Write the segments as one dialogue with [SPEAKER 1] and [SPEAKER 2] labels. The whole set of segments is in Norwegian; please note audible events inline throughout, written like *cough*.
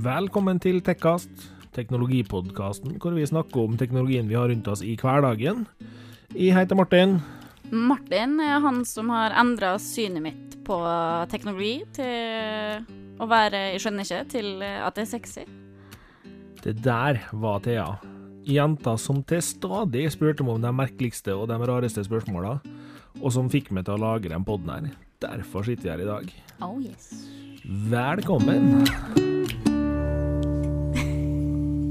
[SPEAKER 1] Velkommen til Tekkast, teknologipodkasten hvor vi snakker om teknologien vi har rundt oss i hverdagen. Jeg heter Martin.
[SPEAKER 2] Martin er han som har endra synet mitt på teknologi til å være Jeg skjønner ikke, til at det er sexy.
[SPEAKER 1] Det der var Thea. Jenta som til stadig spurte meg om de merkeligste og de rareste spørsmåla, og som fikk meg til å lage den poden her. Derfor sitter vi her i dag.
[SPEAKER 2] Oh yes.
[SPEAKER 1] Velkommen.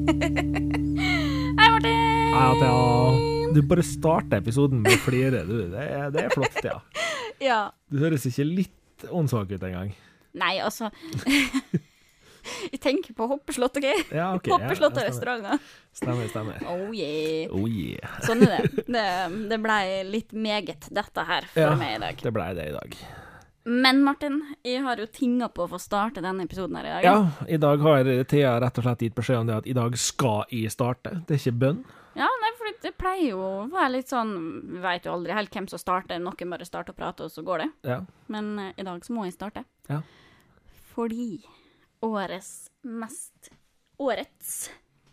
[SPEAKER 2] Hei, Martin!
[SPEAKER 1] Ja, Thea. Du bare starter episoden med å flire, du. Det er, det er flott, Thea.
[SPEAKER 2] Ja.
[SPEAKER 1] Du høres ikke litt åndssvak ut engang.
[SPEAKER 2] Nei, altså *laughs* Jeg tenker på hoppeslott, OK?
[SPEAKER 1] Ja, OK. ja,
[SPEAKER 2] hoppeslott og
[SPEAKER 1] ja, stemmer.
[SPEAKER 2] restauranter.
[SPEAKER 1] Stemmer, stemmer.
[SPEAKER 2] Oh yeah.
[SPEAKER 1] Oh yeah.
[SPEAKER 2] Sånn er det. Det, det blei litt meget, dette her, for
[SPEAKER 1] Ja.
[SPEAKER 2] meg i dag.
[SPEAKER 1] Det blei det i dag.
[SPEAKER 2] Men Martin, jeg har jo tinga på å få starte denne episoden her i dag.
[SPEAKER 1] Ja, i dag har Thea rett og slett gitt beskjed om det at i dag skal jeg starte. Det er ikke bønn.
[SPEAKER 2] Ja, nei, for det pleier jo å være litt sånn Vi veit jo aldri helt hvem som starter. Noen bare starter å prate, og så går det.
[SPEAKER 1] Ja.
[SPEAKER 2] Men eh, i dag så må jeg starte.
[SPEAKER 1] Ja.
[SPEAKER 2] Fordi årets mest Årets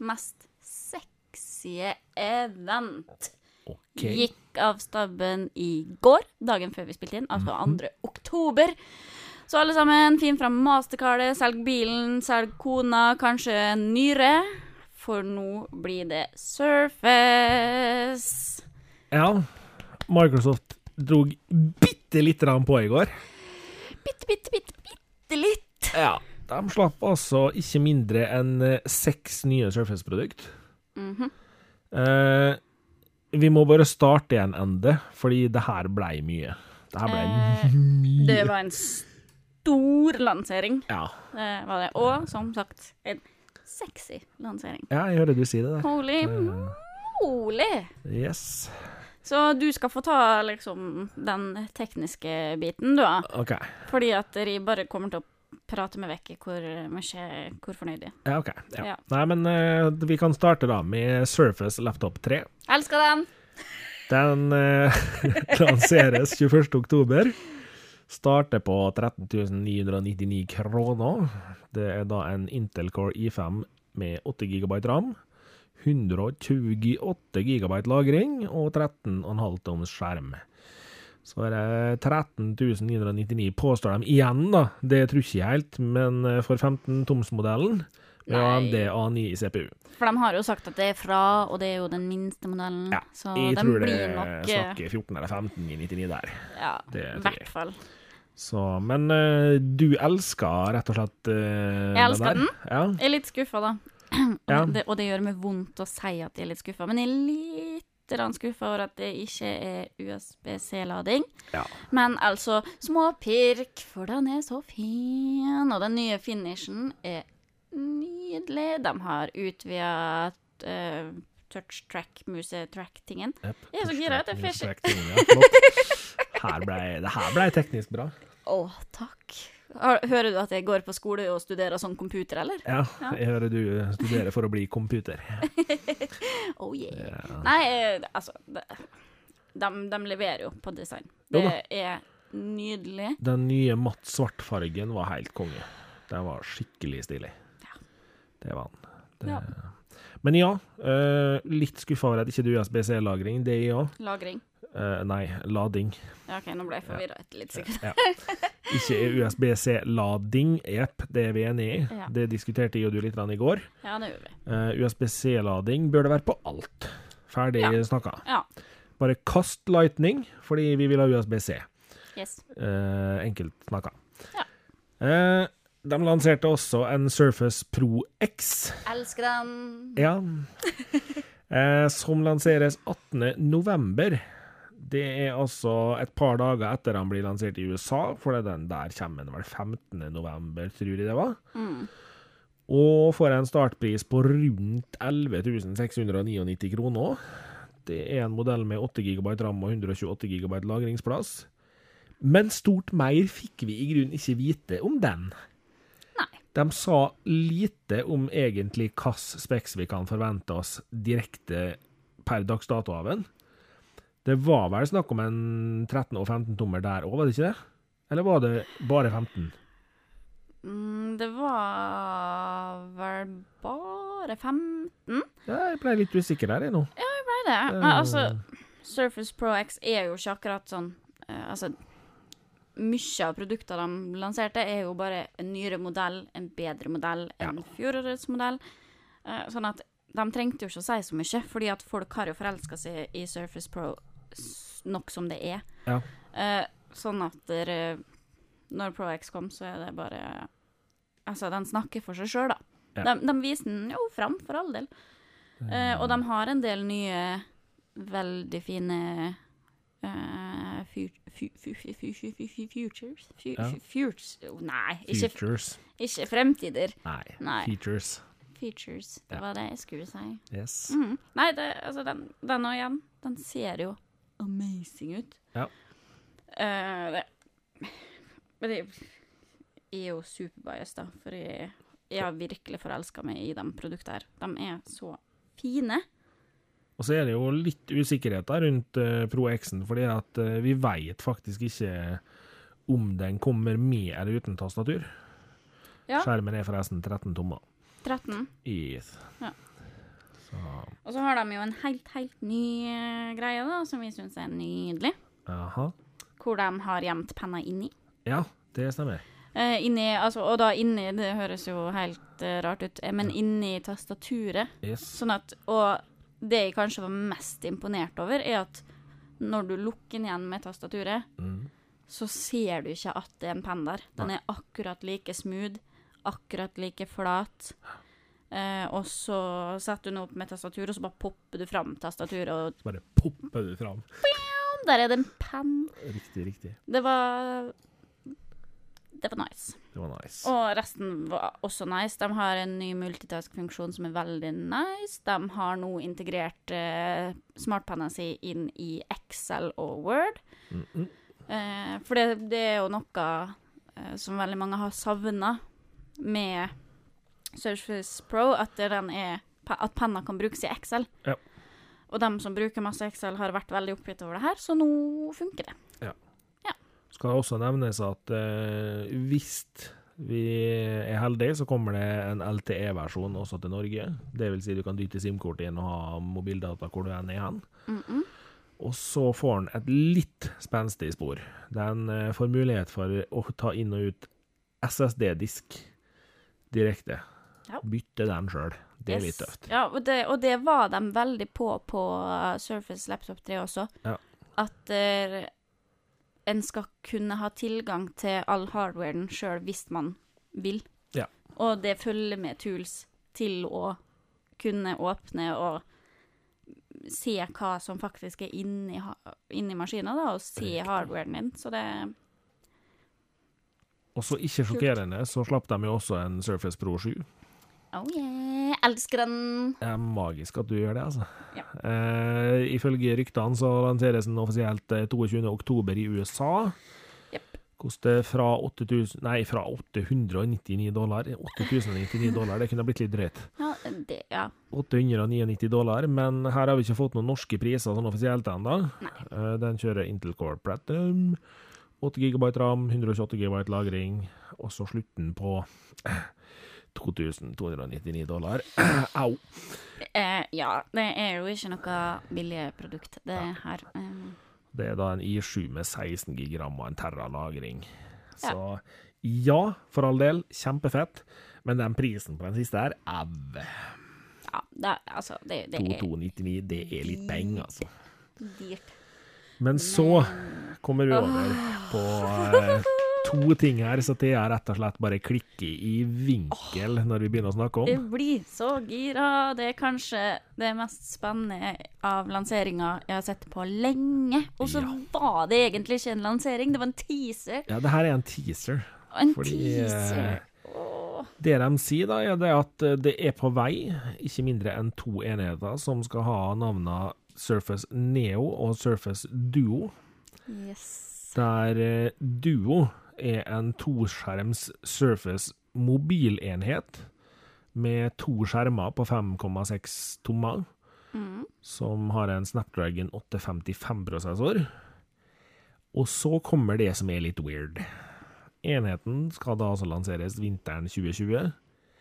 [SPEAKER 2] mest sexy event
[SPEAKER 1] OK.
[SPEAKER 2] gikk av staben i går, dagen før vi spilte inn, altså 2. oktober. Så alle sammen, finn fram mastercardet, selg bilen, selg kona, kanskje en nyre. For nå blir det Surface.
[SPEAKER 1] Ja. Microsoft drog bitte lite grann på i går.
[SPEAKER 2] Bitte, bitte, bitte, bitte litt.
[SPEAKER 1] Ja. De slapp altså ikke mindre enn eh, seks nye Surface-produkt.
[SPEAKER 2] Mhm.
[SPEAKER 1] Eh, vi må bare starte i en ende, fordi det her blei mye. Det her blei
[SPEAKER 2] Eh,
[SPEAKER 1] mye.
[SPEAKER 2] Det var en stor lansering,
[SPEAKER 1] Ja.
[SPEAKER 2] det var det. Og som sagt, en sexy lansering.
[SPEAKER 1] ja, jeg hører du si det der.
[SPEAKER 2] Holy moly!
[SPEAKER 1] Yes.
[SPEAKER 2] Så du skal få ta liksom den tekniske biten, du, da.
[SPEAKER 1] OK.
[SPEAKER 2] Fordi at de bare kommer til å prate meg vekk i hvor mye hvor fornøyd de er.
[SPEAKER 1] Ja, ok. Ja.
[SPEAKER 2] Ja.
[SPEAKER 1] Nei, men eh, vi kan starte da med Surface Laptop 3.
[SPEAKER 2] Elsker den!
[SPEAKER 1] Den eh, *laughs* lanseres 21. oktober. Starter på 13 999 kroner. Det er da en Intel Core i5 med 8 GB ram, 128 GB lagring og 13,5 toms skjerm. Så er det 13 999, påstår de igjen, da. Det tror ikke jeg helt, men eh, for 15-tomsmodellen med
[SPEAKER 2] Nei.
[SPEAKER 1] AMD A9 i CPU.
[SPEAKER 2] For de har jo sagt at det er fra, og det er jo den minste modellen.
[SPEAKER 1] Ja,
[SPEAKER 2] så
[SPEAKER 1] jeg
[SPEAKER 2] den
[SPEAKER 1] tror det
[SPEAKER 2] blir nok eh,
[SPEAKER 1] snakker 14 eller 15 i 99 der.
[SPEAKER 2] Ja,
[SPEAKER 1] det
[SPEAKER 2] i
[SPEAKER 1] tror jeg.
[SPEAKER 2] hvert fall.
[SPEAKER 1] Så, men eh, du elsker rett og slett eh,
[SPEAKER 2] Jeg elsker
[SPEAKER 1] den. der.
[SPEAKER 2] Jeg er litt skuffa, da. *clears throat*
[SPEAKER 1] Ja.
[SPEAKER 2] Og, det, og det gjør meg vondt å si at jeg er litt skuffa, men jeg er litt skuffa over at det ikke er USBC-lading.
[SPEAKER 1] Ja.
[SPEAKER 2] Men altså, småpirk, for den er så fin. Og den nye finishen er nydelig. De har utvida eh, touch track, musetrack-tingen.
[SPEAKER 1] Ja. Yep.
[SPEAKER 2] Jeg er så gira at jeg får ikke-
[SPEAKER 1] Ja, flott. Her ble, det her ble teknisk bra.
[SPEAKER 2] Å, takk. Har- Hører du at jeg går på skole og studerer sånn computer, eller?
[SPEAKER 1] Ja, jeg hører du studerer for å bli computer.
[SPEAKER 2] Oh yeah.
[SPEAKER 1] Ja.
[SPEAKER 2] Nei, eh, altså det, de, de leverer jo på design.
[SPEAKER 1] Jo
[SPEAKER 2] Det
[SPEAKER 1] da.
[SPEAKER 2] er nydelig.
[SPEAKER 1] Den nye matt svart-fargen var helt konge. Den var skikkelig stilig.
[SPEAKER 2] Ja.
[SPEAKER 1] Det var den. Det,
[SPEAKER 2] Ja.
[SPEAKER 1] Men ja, eh, litt skuffa over at ikke du har SBC-lagring. Det er jeg òg.
[SPEAKER 2] Lagring.
[SPEAKER 1] nei, lading.
[SPEAKER 2] Ja, OK, nå ble jeg forvirra et litt sekund.
[SPEAKER 1] Ikke USB-C-lading, jepp, det er vi enig i.
[SPEAKER 2] Ja.
[SPEAKER 1] Det diskuterte jeg og du litt grann i går.
[SPEAKER 2] Ja, det gjorde vi.
[SPEAKER 1] Eh, USB-C-lading bør det være på alt. Ferdig
[SPEAKER 2] Ja.
[SPEAKER 1] snakka.
[SPEAKER 2] Ja.
[SPEAKER 1] Bare kast Lightning, fordi vi vil ha USB-C.
[SPEAKER 2] Yes.
[SPEAKER 1] Eh, enkelt snakka.
[SPEAKER 2] Ja.
[SPEAKER 1] Eh, de lanserte også en Surface Pro X.
[SPEAKER 2] Elsker den.
[SPEAKER 1] Ja. Eh, som lanseres 18.11. Det er altså et par dager etter han blir lansert i USA, for den der kommer den vel 15.11, tror jeg det var.
[SPEAKER 2] Mm.
[SPEAKER 1] Og får en startpris på rundt 11 699 kroner. Det er en modell med 8 GB ram og 128 GB lagringsplass. Men stort mer fikk vi i grunnen ikke vite om den.
[SPEAKER 2] Nei.
[SPEAKER 1] De sa lite om egentlig hvilke speks vi kan forvente oss direkte per dags dato av den. Det var vel snakk om en 13- og 15-tommer der òg, var det ikke det? Eller var det bare 15?
[SPEAKER 2] Mm, det var vel bare 15? Nei,
[SPEAKER 1] Ja, jeg ble litt usikker her, jeg nå.
[SPEAKER 2] det
[SPEAKER 1] Det er
[SPEAKER 2] Nei,
[SPEAKER 1] jo-
[SPEAKER 2] altså, Surface Pro X er jo ikke akkurat sånn eh, Altså, mye av produktene de lanserte, er jo bare en nyere modell, en bedre modell, en fjorårets modell. Eh, sånn at de trengte jo ikke å si så mye, fordi at folk har jo forelska seg i Surface Pro s- nok som det er.
[SPEAKER 1] Ja.
[SPEAKER 2] Eh, sånn at der, eh, når Pro X kom, så er det bare Altså, den snakker for seg sjøl, da.
[SPEAKER 1] Ja.
[SPEAKER 2] De, de viser den jo fram, for all del. Eh, og de har en del nye, veldig fine eh, fu- fu- fu- fu- fu- fu- fu- fu- Futures? Fu-
[SPEAKER 1] Ja.
[SPEAKER 2] fu- Futures oh, Nei, ikke,
[SPEAKER 1] Features.
[SPEAKER 2] ikke fremtider.
[SPEAKER 1] Nei.
[SPEAKER 2] Nei.
[SPEAKER 1] Features.
[SPEAKER 2] Features,
[SPEAKER 1] Ja.
[SPEAKER 2] det var det jeg skulle si.
[SPEAKER 1] Yes.
[SPEAKER 2] Mhm. Nei, det, altså, den, den og igjen, den ser jo amazing ut.
[SPEAKER 1] Ja.
[SPEAKER 2] Eh, det, men jeg jeg er jo superbias, da, for jeg, jeg har virkelig forelska meg i de produktene her. De er så fine.
[SPEAKER 1] Og så er det jo litt usikkerhet da rundt eh, Pro X-en, fordi at eh, vi veit faktisk ikke om den kommer med eller uten tastatur.
[SPEAKER 2] Ja.
[SPEAKER 1] Skjermen er forresten 13 tommer.
[SPEAKER 2] 13.
[SPEAKER 1] Yes.
[SPEAKER 2] Ja.
[SPEAKER 1] Så,
[SPEAKER 2] Og så har de jo en helt, helt ny eh, greie, da, som vi syns er nydelig.
[SPEAKER 1] aha.
[SPEAKER 2] Hvor de har gjemt penna inni.
[SPEAKER 1] Ja, det stemmer.
[SPEAKER 2] Eh, inni, altså, og da inni, det høres jo helt eh, rart ut, eh, men inni tastaturet
[SPEAKER 1] Yes.
[SPEAKER 2] Sånn at, og det jeg kanskje var mest imponert over, er at når du lukker den igjen med tastaturet,
[SPEAKER 1] Mm.
[SPEAKER 2] så ser du ikke at det er en penn der. Den er akkurat like smooth, akkurat like flat. Eh, og så setter du den opp med tastaturet, og så bare popper du fram tastaturet, og
[SPEAKER 1] Bare popper du fram.
[SPEAKER 2] der er det en penn.
[SPEAKER 1] Riktig, riktig.
[SPEAKER 2] Det var Det var nice.
[SPEAKER 1] Det var nice.
[SPEAKER 2] Og resten var også nice. De har en ny multitask-funksjon som er veldig nice. De har nå integrert eh, smartpennen sin inn i Excel og Word.
[SPEAKER 1] Mm -mm.
[SPEAKER 2] Eh, for det, det er jo noe eh, som veldig mange har savna med Surface Pro, at, det den er, pe- at penna kan brukes i Excel.
[SPEAKER 1] Ja.
[SPEAKER 2] Og de som bruker masse Excel, har vært veldig oppgitt over det her, så nå funker det.
[SPEAKER 1] Skal det også nevnes at eh, hvis vi er heldige, så kommer det en LTE-versjon også til Norge. Det vil si du kan dytte SIM-kortet inn og ha mobildata hvor du enn er hen. Og så får den et litt spenstig spor. Den eh, får mulighet for å ta inn og ut SSD-disk direkte.
[SPEAKER 2] Ja.
[SPEAKER 1] Bytte den sjøl. Det er litt
[SPEAKER 2] Yes.
[SPEAKER 1] tøft.
[SPEAKER 2] Ja, og det, og det var de veldig på på uh, Surface Laptop 3 også.
[SPEAKER 1] Ja.
[SPEAKER 2] At eh, en skal kunne ha tilgang til all hardwaren sjøl hvis man vil.
[SPEAKER 1] Ja.
[SPEAKER 2] Og det følger med tools til å kunne åpne og se hva som faktisk er inni, ha- inni maskina, da, og se
[SPEAKER 1] Riktig.
[SPEAKER 2] hardwaren din. Så det
[SPEAKER 1] Og så ikke sjokkerende, så slapp de jo også en Surface Pro 7.
[SPEAKER 2] Oh yeah! Elsker den!
[SPEAKER 1] Det er magisk at du gjør det, altså.
[SPEAKER 2] Ja.
[SPEAKER 1] Eh, ifølge ryktene så lanseres den offisielt eh, 22. oktober i USA.
[SPEAKER 2] Jepp.
[SPEAKER 1] Koster fra 8000 Nei, fra 899 dollar. 8099 dollar, det kunne blitt litt drøyt.
[SPEAKER 2] Ja, det, ja.
[SPEAKER 1] 899 dollar, men her har vi ikke fått noen norske priser sånn offisielt ennå. Eh, Den kjører Intel Core Platinum, 8 GB ram, 128 GB lagring, og så slutten på 2299 dollar. *clears throat* Au!
[SPEAKER 2] Eh, ja, det er jo ikke noe billig produkt, det her. Eh,
[SPEAKER 1] Det er da en I7 med 16 gig ram og en terra lagring.
[SPEAKER 2] Ja.
[SPEAKER 1] Så ja, for all del, kjempefett. Men den prisen på den siste her, au.
[SPEAKER 2] ja, det, er- altså, det, det er
[SPEAKER 1] 2299, det er litt penger, altså.
[SPEAKER 2] dyrt.
[SPEAKER 1] Men så kommer vi over på *laughs* eh, to ting her, så Thea rett og slett bare klikker i vinkel når vi begynner å snakke
[SPEAKER 2] Jeg
[SPEAKER 1] om.
[SPEAKER 2] blir så gira. Det er kanskje det mest spennende av lanseringa jeg har sett på lenge. Og så var det egentlig ikke en lansering, det var en teaser.
[SPEAKER 1] Ja, det her er en teaser.
[SPEAKER 2] Og en
[SPEAKER 1] Fordi, eh,
[SPEAKER 2] teaser Åh.
[SPEAKER 1] Det de sier, da, er det at eh, det er på vei ikke mindre enn to enheter som skal ha navnene Surface Neo og Surface Duo,
[SPEAKER 2] Yes.
[SPEAKER 1] der eh, Duo er en toskjerms Surface mobilenhet med to skjermer på 5,6 tommer,
[SPEAKER 2] Mm.
[SPEAKER 1] som har en Snapdragon 855-prosessor. Og så kommer det som er litt weird. enheten skal da altså lanseres vinteren 2020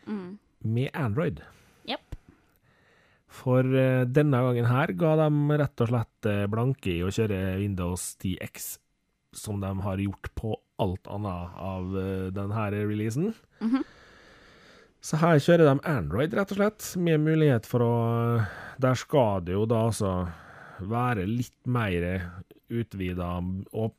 [SPEAKER 2] Mm.
[SPEAKER 1] med Android.
[SPEAKER 2] Jepp.
[SPEAKER 1] For eh, denne gangen her ga de rett og slett eh, blanke i å kjøre Windows 10X, som de har gjort på alt annet av eh, denne releasen.
[SPEAKER 2] Mhm.
[SPEAKER 1] Så her kjører de Android, rett og slett, med mulighet for å eh, Der skal det jo da altså være litt mer utvida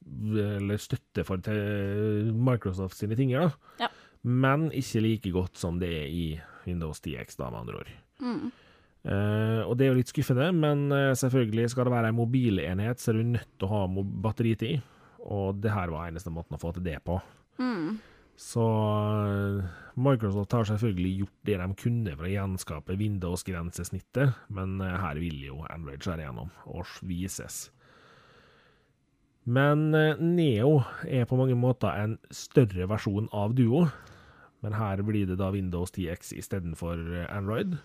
[SPEAKER 1] eller støtte for til eh, Microsoft sine ting, da.
[SPEAKER 2] Ja.
[SPEAKER 1] Men ikke like godt som det er i Windows 10X, da, med andre ord.
[SPEAKER 2] Mm.
[SPEAKER 1] Eh, og det er jo litt skuffende, men eh, selvfølgelig skal det være en mobilenhet, så er du nødt til å ha mo- batteritid. Og det her var eneste måten å få til det på.
[SPEAKER 2] Mm.
[SPEAKER 1] Så eh, Microsoft har selvfølgelig gjort det de kunne for å gjenskape Windows-grensesnittet, men eh, her vil jo Android skjære gjennom og vises. Men eh, Neo er på mange måter en større versjon av Duo, men her blir det da Windows 10X istedenfor eh, Android.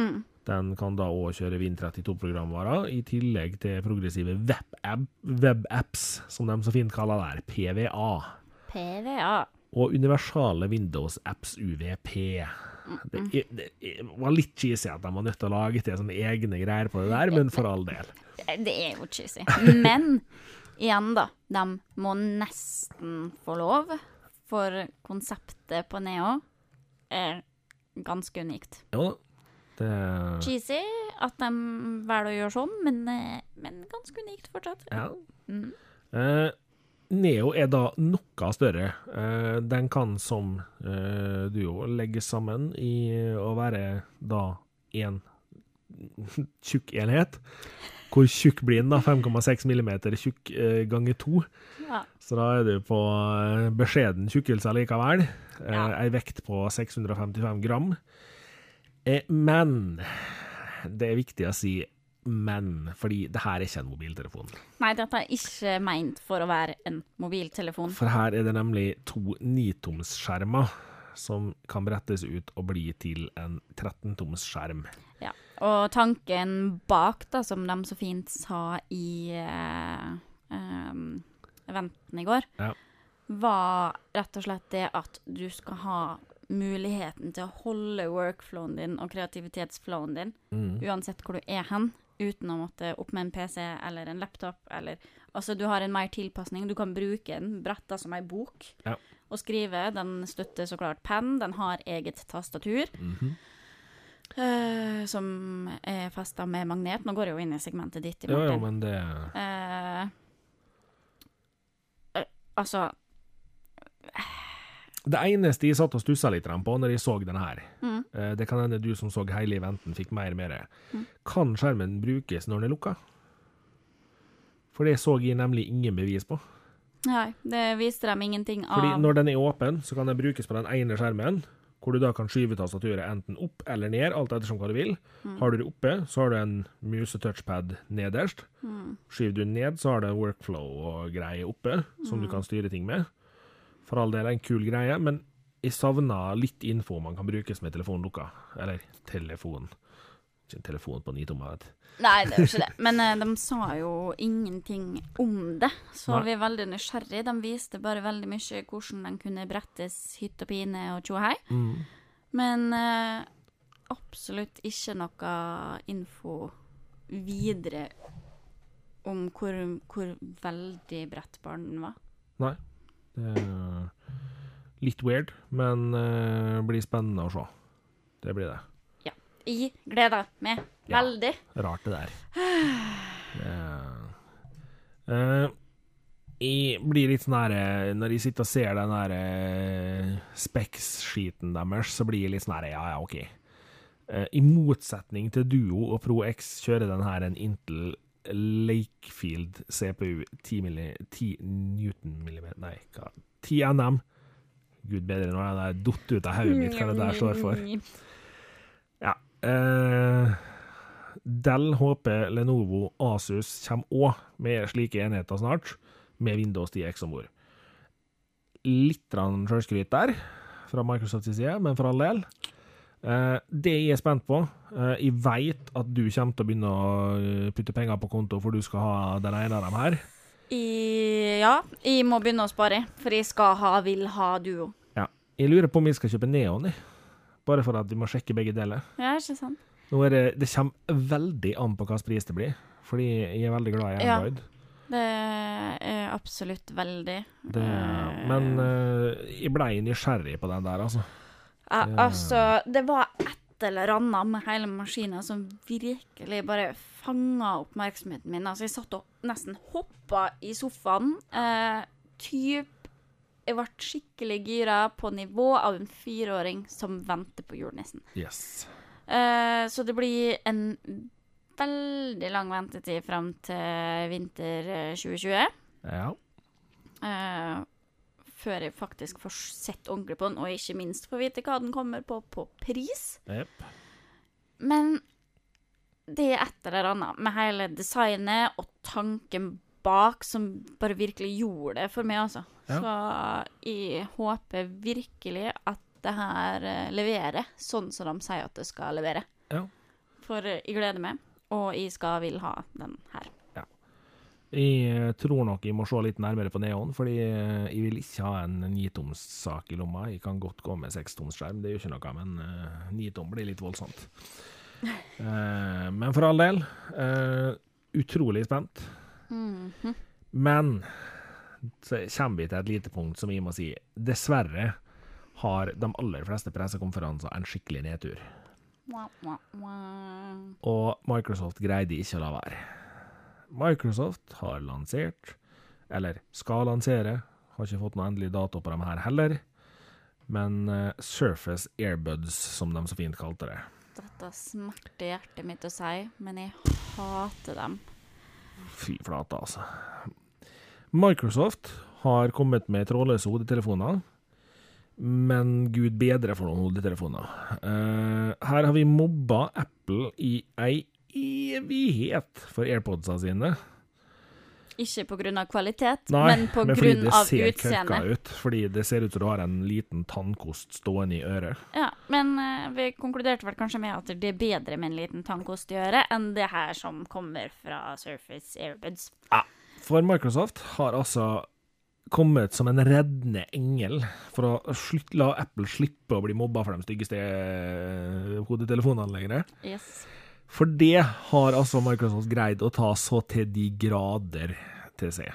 [SPEAKER 2] Mm.
[SPEAKER 1] Den kan da òg kjøre Win32-programvarer, i tillegg til progressive web-app- web-apps, som de så fint kaller der, PVA.
[SPEAKER 2] PVA.
[SPEAKER 1] Og universale Windows-apps, UVP. Det, er- det er- var litt cheesy at de var nødt til å lage til sånne egne greier på det der, men for all del.
[SPEAKER 2] Eh, Det er jo cheesy. Men igjen, da. De må nesten få lov, for konseptet på Neo er ganske unikt.
[SPEAKER 1] Jo da. Det
[SPEAKER 2] Cheesy at de velger å gjøre sånn, men, eh, men ganske unikt fortsatt.
[SPEAKER 1] Ja.
[SPEAKER 2] Mm.
[SPEAKER 1] Eh, Neo er da noe større. Eh, den kan som eh, duo legges sammen i eh, å være da én *laughs* tjukk enhet. Hvor tjukk blir den, da? 5,6 millimeter tjukk eh, ganger to.
[SPEAKER 2] Ja.
[SPEAKER 1] Så da er du på eh, beskjeden tjukkelse likevel. Eh,
[SPEAKER 2] Ja.
[SPEAKER 1] Ei vekt på 655 gram. Eh, men Det er viktig å si men, fordi det her er ikke en mobiltelefon.
[SPEAKER 2] Nei, dette er ikke meint for å være en mobiltelefon.
[SPEAKER 1] For her er det nemlig to 9-tomsskjermer som kan brettes ut og bli til en 13-tomsskjerm.
[SPEAKER 2] Ja. Og tanken bak, da, som de så fint sa i eh, ehm, em, eventen i går,
[SPEAKER 1] Ja.
[SPEAKER 2] var rett og slett det at du skal ha muligheten til å holde workflowen din og kreativitetsflowen din,
[SPEAKER 1] Mm.
[SPEAKER 2] uansett hvor du er hen, uten å måtte opp med en PC eller en laptop eller Altså, du har en mer tilpasning. Du kan bruke den bretta som ei bok
[SPEAKER 1] Ja.
[SPEAKER 2] og skrive. Den støtter så klart penn. Den har eget tastatur.
[SPEAKER 1] Mhm.
[SPEAKER 2] Eh, som er festa med magnet. Nå går jeg jo inn i segmentet ditt. I
[SPEAKER 1] Jo, jo, men
[SPEAKER 2] Martin.
[SPEAKER 1] det
[SPEAKER 2] Eh, eh, altså
[SPEAKER 1] Det eneste jeg satt og stussa litt på når jeg så denne her,
[SPEAKER 2] mm,
[SPEAKER 1] eh, det kan hende du som så hele eventen, fikk mer med det.
[SPEAKER 2] Mm.
[SPEAKER 1] Kan skjermen brukes når den er lukka? For det så jeg nemlig ingen bevis på.
[SPEAKER 2] Nei, det viste dem ingenting av.
[SPEAKER 1] Fordi når den er åpen, så kan den brukes på den ene skjermen, hvor du da kan skyve tastaturet enten opp eller ned, alt ettersom hva du vil.
[SPEAKER 2] Mm.
[SPEAKER 1] Har du det oppe, så har du en muse-touchpad nederst.
[SPEAKER 2] Mm.
[SPEAKER 1] Skyver du den ned, så har du en workflow og greie oppe, som
[SPEAKER 2] Mm.
[SPEAKER 1] du kan styre ting med. For all del en kul greie, men jeg savna litt info man kan brukes med telefonen lukka. Eller telefon. Ikke en telefon på ni tommer. vet du.
[SPEAKER 2] Nei, det er jo ikke det. Men eh, de sa jo ingenting om det, så
[SPEAKER 1] Nei.
[SPEAKER 2] vi er veldig nysgjerrige. De viste bare veldig mye hvordan den kunne brettes hytt og pine og tjo og hei.
[SPEAKER 1] Mm.
[SPEAKER 2] Men eh, absolutt ikke noe info videre om hvor, hvor veldig bredt barnen var.
[SPEAKER 1] Nei. Det er litt weird, men eh, blir spennende å se. Det blir det.
[SPEAKER 2] Jeg gleder meg
[SPEAKER 1] Ja.
[SPEAKER 2] veldig.
[SPEAKER 1] Rart det der. Det Eh, jeg blir litt sånn her eh, Når jeg sitter og ser den her eh, Specs-skiten deres, så blir jeg litt sånn her Ja, ja, OK. Eh, I motsetning til Duo og Pro X kjører den her en Intel Lakefield CPU 10, milli, 10 newton millimeter Nei, hva 10 NM. Gud bedre når den er datt ut av hodet mitt, hva det der står for.
[SPEAKER 2] Mm,
[SPEAKER 1] Ja. Eh, Dell, HP, Lenovo, Asus kommer òg med slike enheter snart, med Windows 10X om bord. Litt grann sjølskryt der, fra Microsofts side, men for all del. Eh, det jeg er spent på eh, Jeg eh, veit at du kommer til å begynne å putte penger på konto, for du skal ha den ene av dem her.
[SPEAKER 2] I, ja, jeg må begynne å spare, for jeg skal ha, vil ha duo.
[SPEAKER 1] Ja. Jeg lurer på om jeg skal kjøpe neon, jeg. Bare for at vi må sjekke begge deler.
[SPEAKER 2] Ja, ikke sant?
[SPEAKER 1] Nå er det, det kommer veldig an på hva slags pris det blir, fordi jeg er veldig glad i
[SPEAKER 2] Ja.
[SPEAKER 1] Android.
[SPEAKER 2] Det er absolutt veldig.
[SPEAKER 1] Det, men eh, jeg blei nysgjerrig på den der, altså.
[SPEAKER 2] Ja, altså, det var et eller annet med hele maskinen som virkelig bare fanga oppmerksomheten min. Altså, jeg satt og nesten hoppa i sofaen. Eh, typ Jeg ble skikkelig gira på nivå av en fireåring som venter på julenissen.
[SPEAKER 1] Yes.
[SPEAKER 2] Eh, så det blir en veldig lang ventetid fram til vinter eh, 2020.
[SPEAKER 1] Ja.
[SPEAKER 2] eh, før jeg faktisk får sett ordentlig på den, og ikke minst får vite hva den kommer på på pris.
[SPEAKER 1] Jepp.
[SPEAKER 2] Men det er et eller annet med hele designet og tanken bak som bare virkelig gjorde det for meg, altså.
[SPEAKER 1] Ja.
[SPEAKER 2] Så jeg håper virkelig at det her eh, leverer sånn som de sier at det skal levere.
[SPEAKER 1] Ja.
[SPEAKER 2] For eh, jeg gleder meg, og jeg skal vil ha den her.
[SPEAKER 1] Jeg eh, tror nok jeg må se litt nærmere på neon, fordi eh, jeg vil ikke ha en nitomssak i lomma. Jeg kan godt gå med sekstoms-skjerm, det gjør ikke noe, men eh, nitom blir litt voldsomt. Eh, men for all del, eh, utrolig spent.
[SPEAKER 2] Mm.
[SPEAKER 1] Men så kommer vi til et lite punkt som jeg må si dessverre har de aller fleste pressekonferanser en skikkelig nedtur.
[SPEAKER 2] Mwah, mwah, mwah.
[SPEAKER 1] Og Microsoft greide ikke å la være. Microsoft har lansert, eller skal lansere, har ikke fått noen endelig dato på dem her heller, men eh, Surface Airbuds, som de så fint kalte det.
[SPEAKER 2] Dette smerter hjertet mitt å si, men jeg hater dem.
[SPEAKER 1] Fy flate, altså. Microsoft har kommet med trådløse hodetelefoner, men gud bedre for noen hodetelefoner. Eh, her har vi mobba Apple i ei evighet for AirPodsa sine.
[SPEAKER 2] Ikke pga. kvalitet,
[SPEAKER 1] Nei,
[SPEAKER 2] men pga.
[SPEAKER 1] fordi det ser
[SPEAKER 2] utseende.
[SPEAKER 1] kørka ut. Fordi det ser ut som du har en liten tannkost stående i øret.
[SPEAKER 2] Ja, men eh, vi konkluderte vel kanskje med at det er bedre med en liten tannkost i øret enn det her som kommer fra Surface Airbuds.
[SPEAKER 1] For Microsoft har altså kommet som en reddende engel for å slutt, la Apple slippe å bli mobba for de styggeste eh, hodetelefonene lenger.
[SPEAKER 2] Yes.
[SPEAKER 1] For det har altså Microsoft greid å ta så til de grader til seg.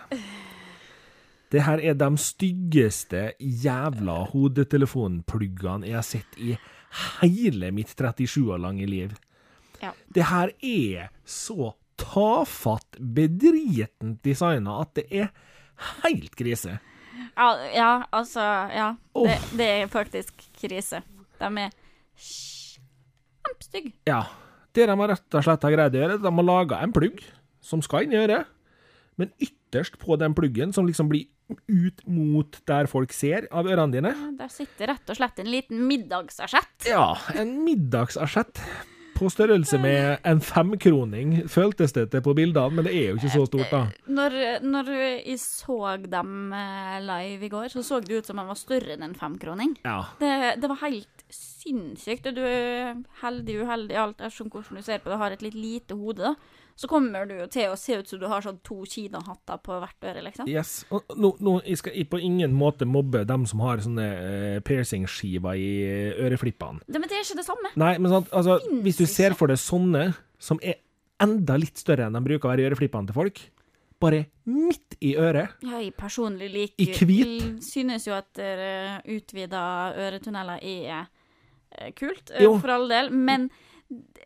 [SPEAKER 1] Det her er de styggeste jævla hodetelefonpluggene jeg har sett i hele mitt 37 år lange liv.
[SPEAKER 2] Ja.
[SPEAKER 1] Det her er så tafatt, bedritent designa at det er helt krise.
[SPEAKER 2] Ja, ja altså Ja. Det, det er faktisk krise. De er kjempestygge.
[SPEAKER 1] Ja. Det de har rett og slett har greid å gjøre, er at de har laga en plugg som skal inn i øret, men ytterst på den pluggen, som liksom blir ut mot der folk ser av ørene dine.
[SPEAKER 2] Der sitter rett og slett en liten middagsassiett.
[SPEAKER 1] Ja, en middagsassiett på størrelse med en femkroning, føltes det til på bildene, men det er jo ikke så stort, da.
[SPEAKER 2] Når, når jeg så dem eh, live i går, så så det ut som de var større enn en femkroning.
[SPEAKER 1] Ja.
[SPEAKER 2] Det, det var helt sinnssykt. Og du er heldig uheldig alt ettersom hvordan du ser på det, har et litt lite hode. da. Så kommer du jo til å se ut som du har sånn to kinahatter på hvert øre, liksom.
[SPEAKER 1] Yes. Og Nå, nå jeg skal jeg på ingen måte mobbe dem som har sånne eh, piercing-skiver i eh, øreflippene.
[SPEAKER 2] Det, men det er ikke det samme.
[SPEAKER 1] Nei, men sant, altså,
[SPEAKER 2] Finnes
[SPEAKER 1] hvis du
[SPEAKER 2] ikke.
[SPEAKER 1] ser for deg sånne som er enda litt større enn de bruker å være i øreflippene til folk, bare midt i øret
[SPEAKER 2] Jeg personlig liker
[SPEAKER 1] I hvit?
[SPEAKER 2] l- Synes jo at uh, utvida øretunneler er eh, kult, eh,
[SPEAKER 1] Jo.
[SPEAKER 2] for all del, men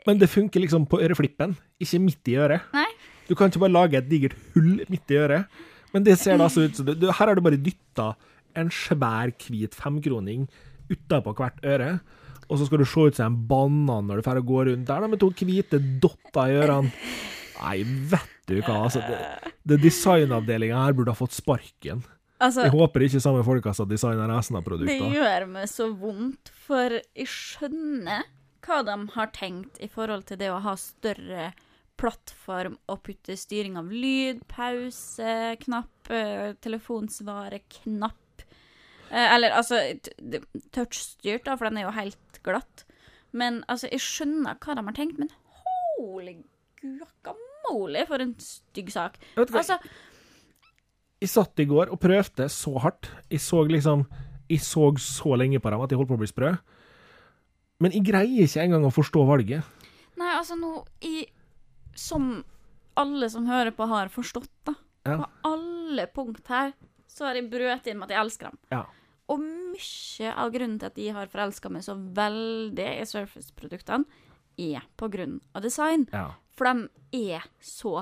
[SPEAKER 1] Men det funker liksom på øreflippen, ikke midt i øret.
[SPEAKER 2] Nei.
[SPEAKER 1] Du kan ikke bare lage et digert hull midt i øret. Men det ser da så ut som du, du, Her har du bare dytta en svær, hvit femkroning utapå hvert øre. Og så skal du se ut som en banan når du drar og går rundt der da, med to hvite dotter i ørene. Nei, vet du hva, altså. Det, det designavdelinga her burde ha fått sparken.
[SPEAKER 2] altså
[SPEAKER 1] Jeg håper ikke samme folka som designer resten av
[SPEAKER 2] Det
[SPEAKER 1] produktene.
[SPEAKER 2] gjør meg så vondt, for jeg skjønner hva de har tenkt i forhold til det å ha større plattform og putte styring av lyd, pause, knapp, eh, telefonsvare, knapp. Eh, Eller altså t- det- touchstyrt, da, for den er jo helt glatt. Men altså, jeg skjønner hva de har tenkt, men holy guacamole, for en stygg sak.
[SPEAKER 1] Jeg vet ikke hva-
[SPEAKER 2] Altså,
[SPEAKER 1] Jeg satt i går og prøvde så hardt. Jeg så liksom Jeg så så lenge på dem at jeg holdt på å bli sprø. Men jeg greier ikke engang å forstå valget.
[SPEAKER 2] Nei, altså nå i Som alle som hører på, har forstått, da.
[SPEAKER 1] Ja.
[SPEAKER 2] På alle punkt her så har jeg brøt inn med at jeg elsker dem.
[SPEAKER 1] Ja.
[SPEAKER 2] Og mye av grunnen til at jeg har forelska meg så veldig i Surface-produktene, er på grunn av design.
[SPEAKER 1] Ja.
[SPEAKER 2] For de er så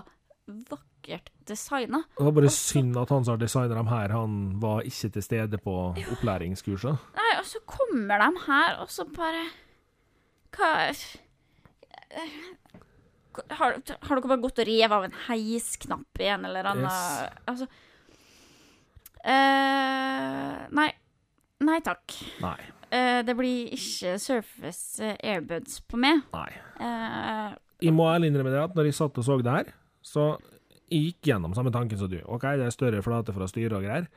[SPEAKER 2] vakkert designa.
[SPEAKER 1] Det var bare synd at han som har designa dem her, han var ikke til stede på opplæringskurset.
[SPEAKER 2] Nei, og så kommer de her, og så bare Hva har, har dere bare gått og revet av en heisknapp i en eller annen
[SPEAKER 1] Yes.
[SPEAKER 2] Altså eh, Nei. Nei takk.
[SPEAKER 1] Nei.
[SPEAKER 2] Eh, det blir ikke Surface eh, Airbuds på meg.
[SPEAKER 1] Nei.
[SPEAKER 2] Eh,
[SPEAKER 1] Jeg må ærlig innrømme det at når jeg satt og så det her, så jeg gikk gjennom samme tanken som du. OK, det er større flate for å styre og greier.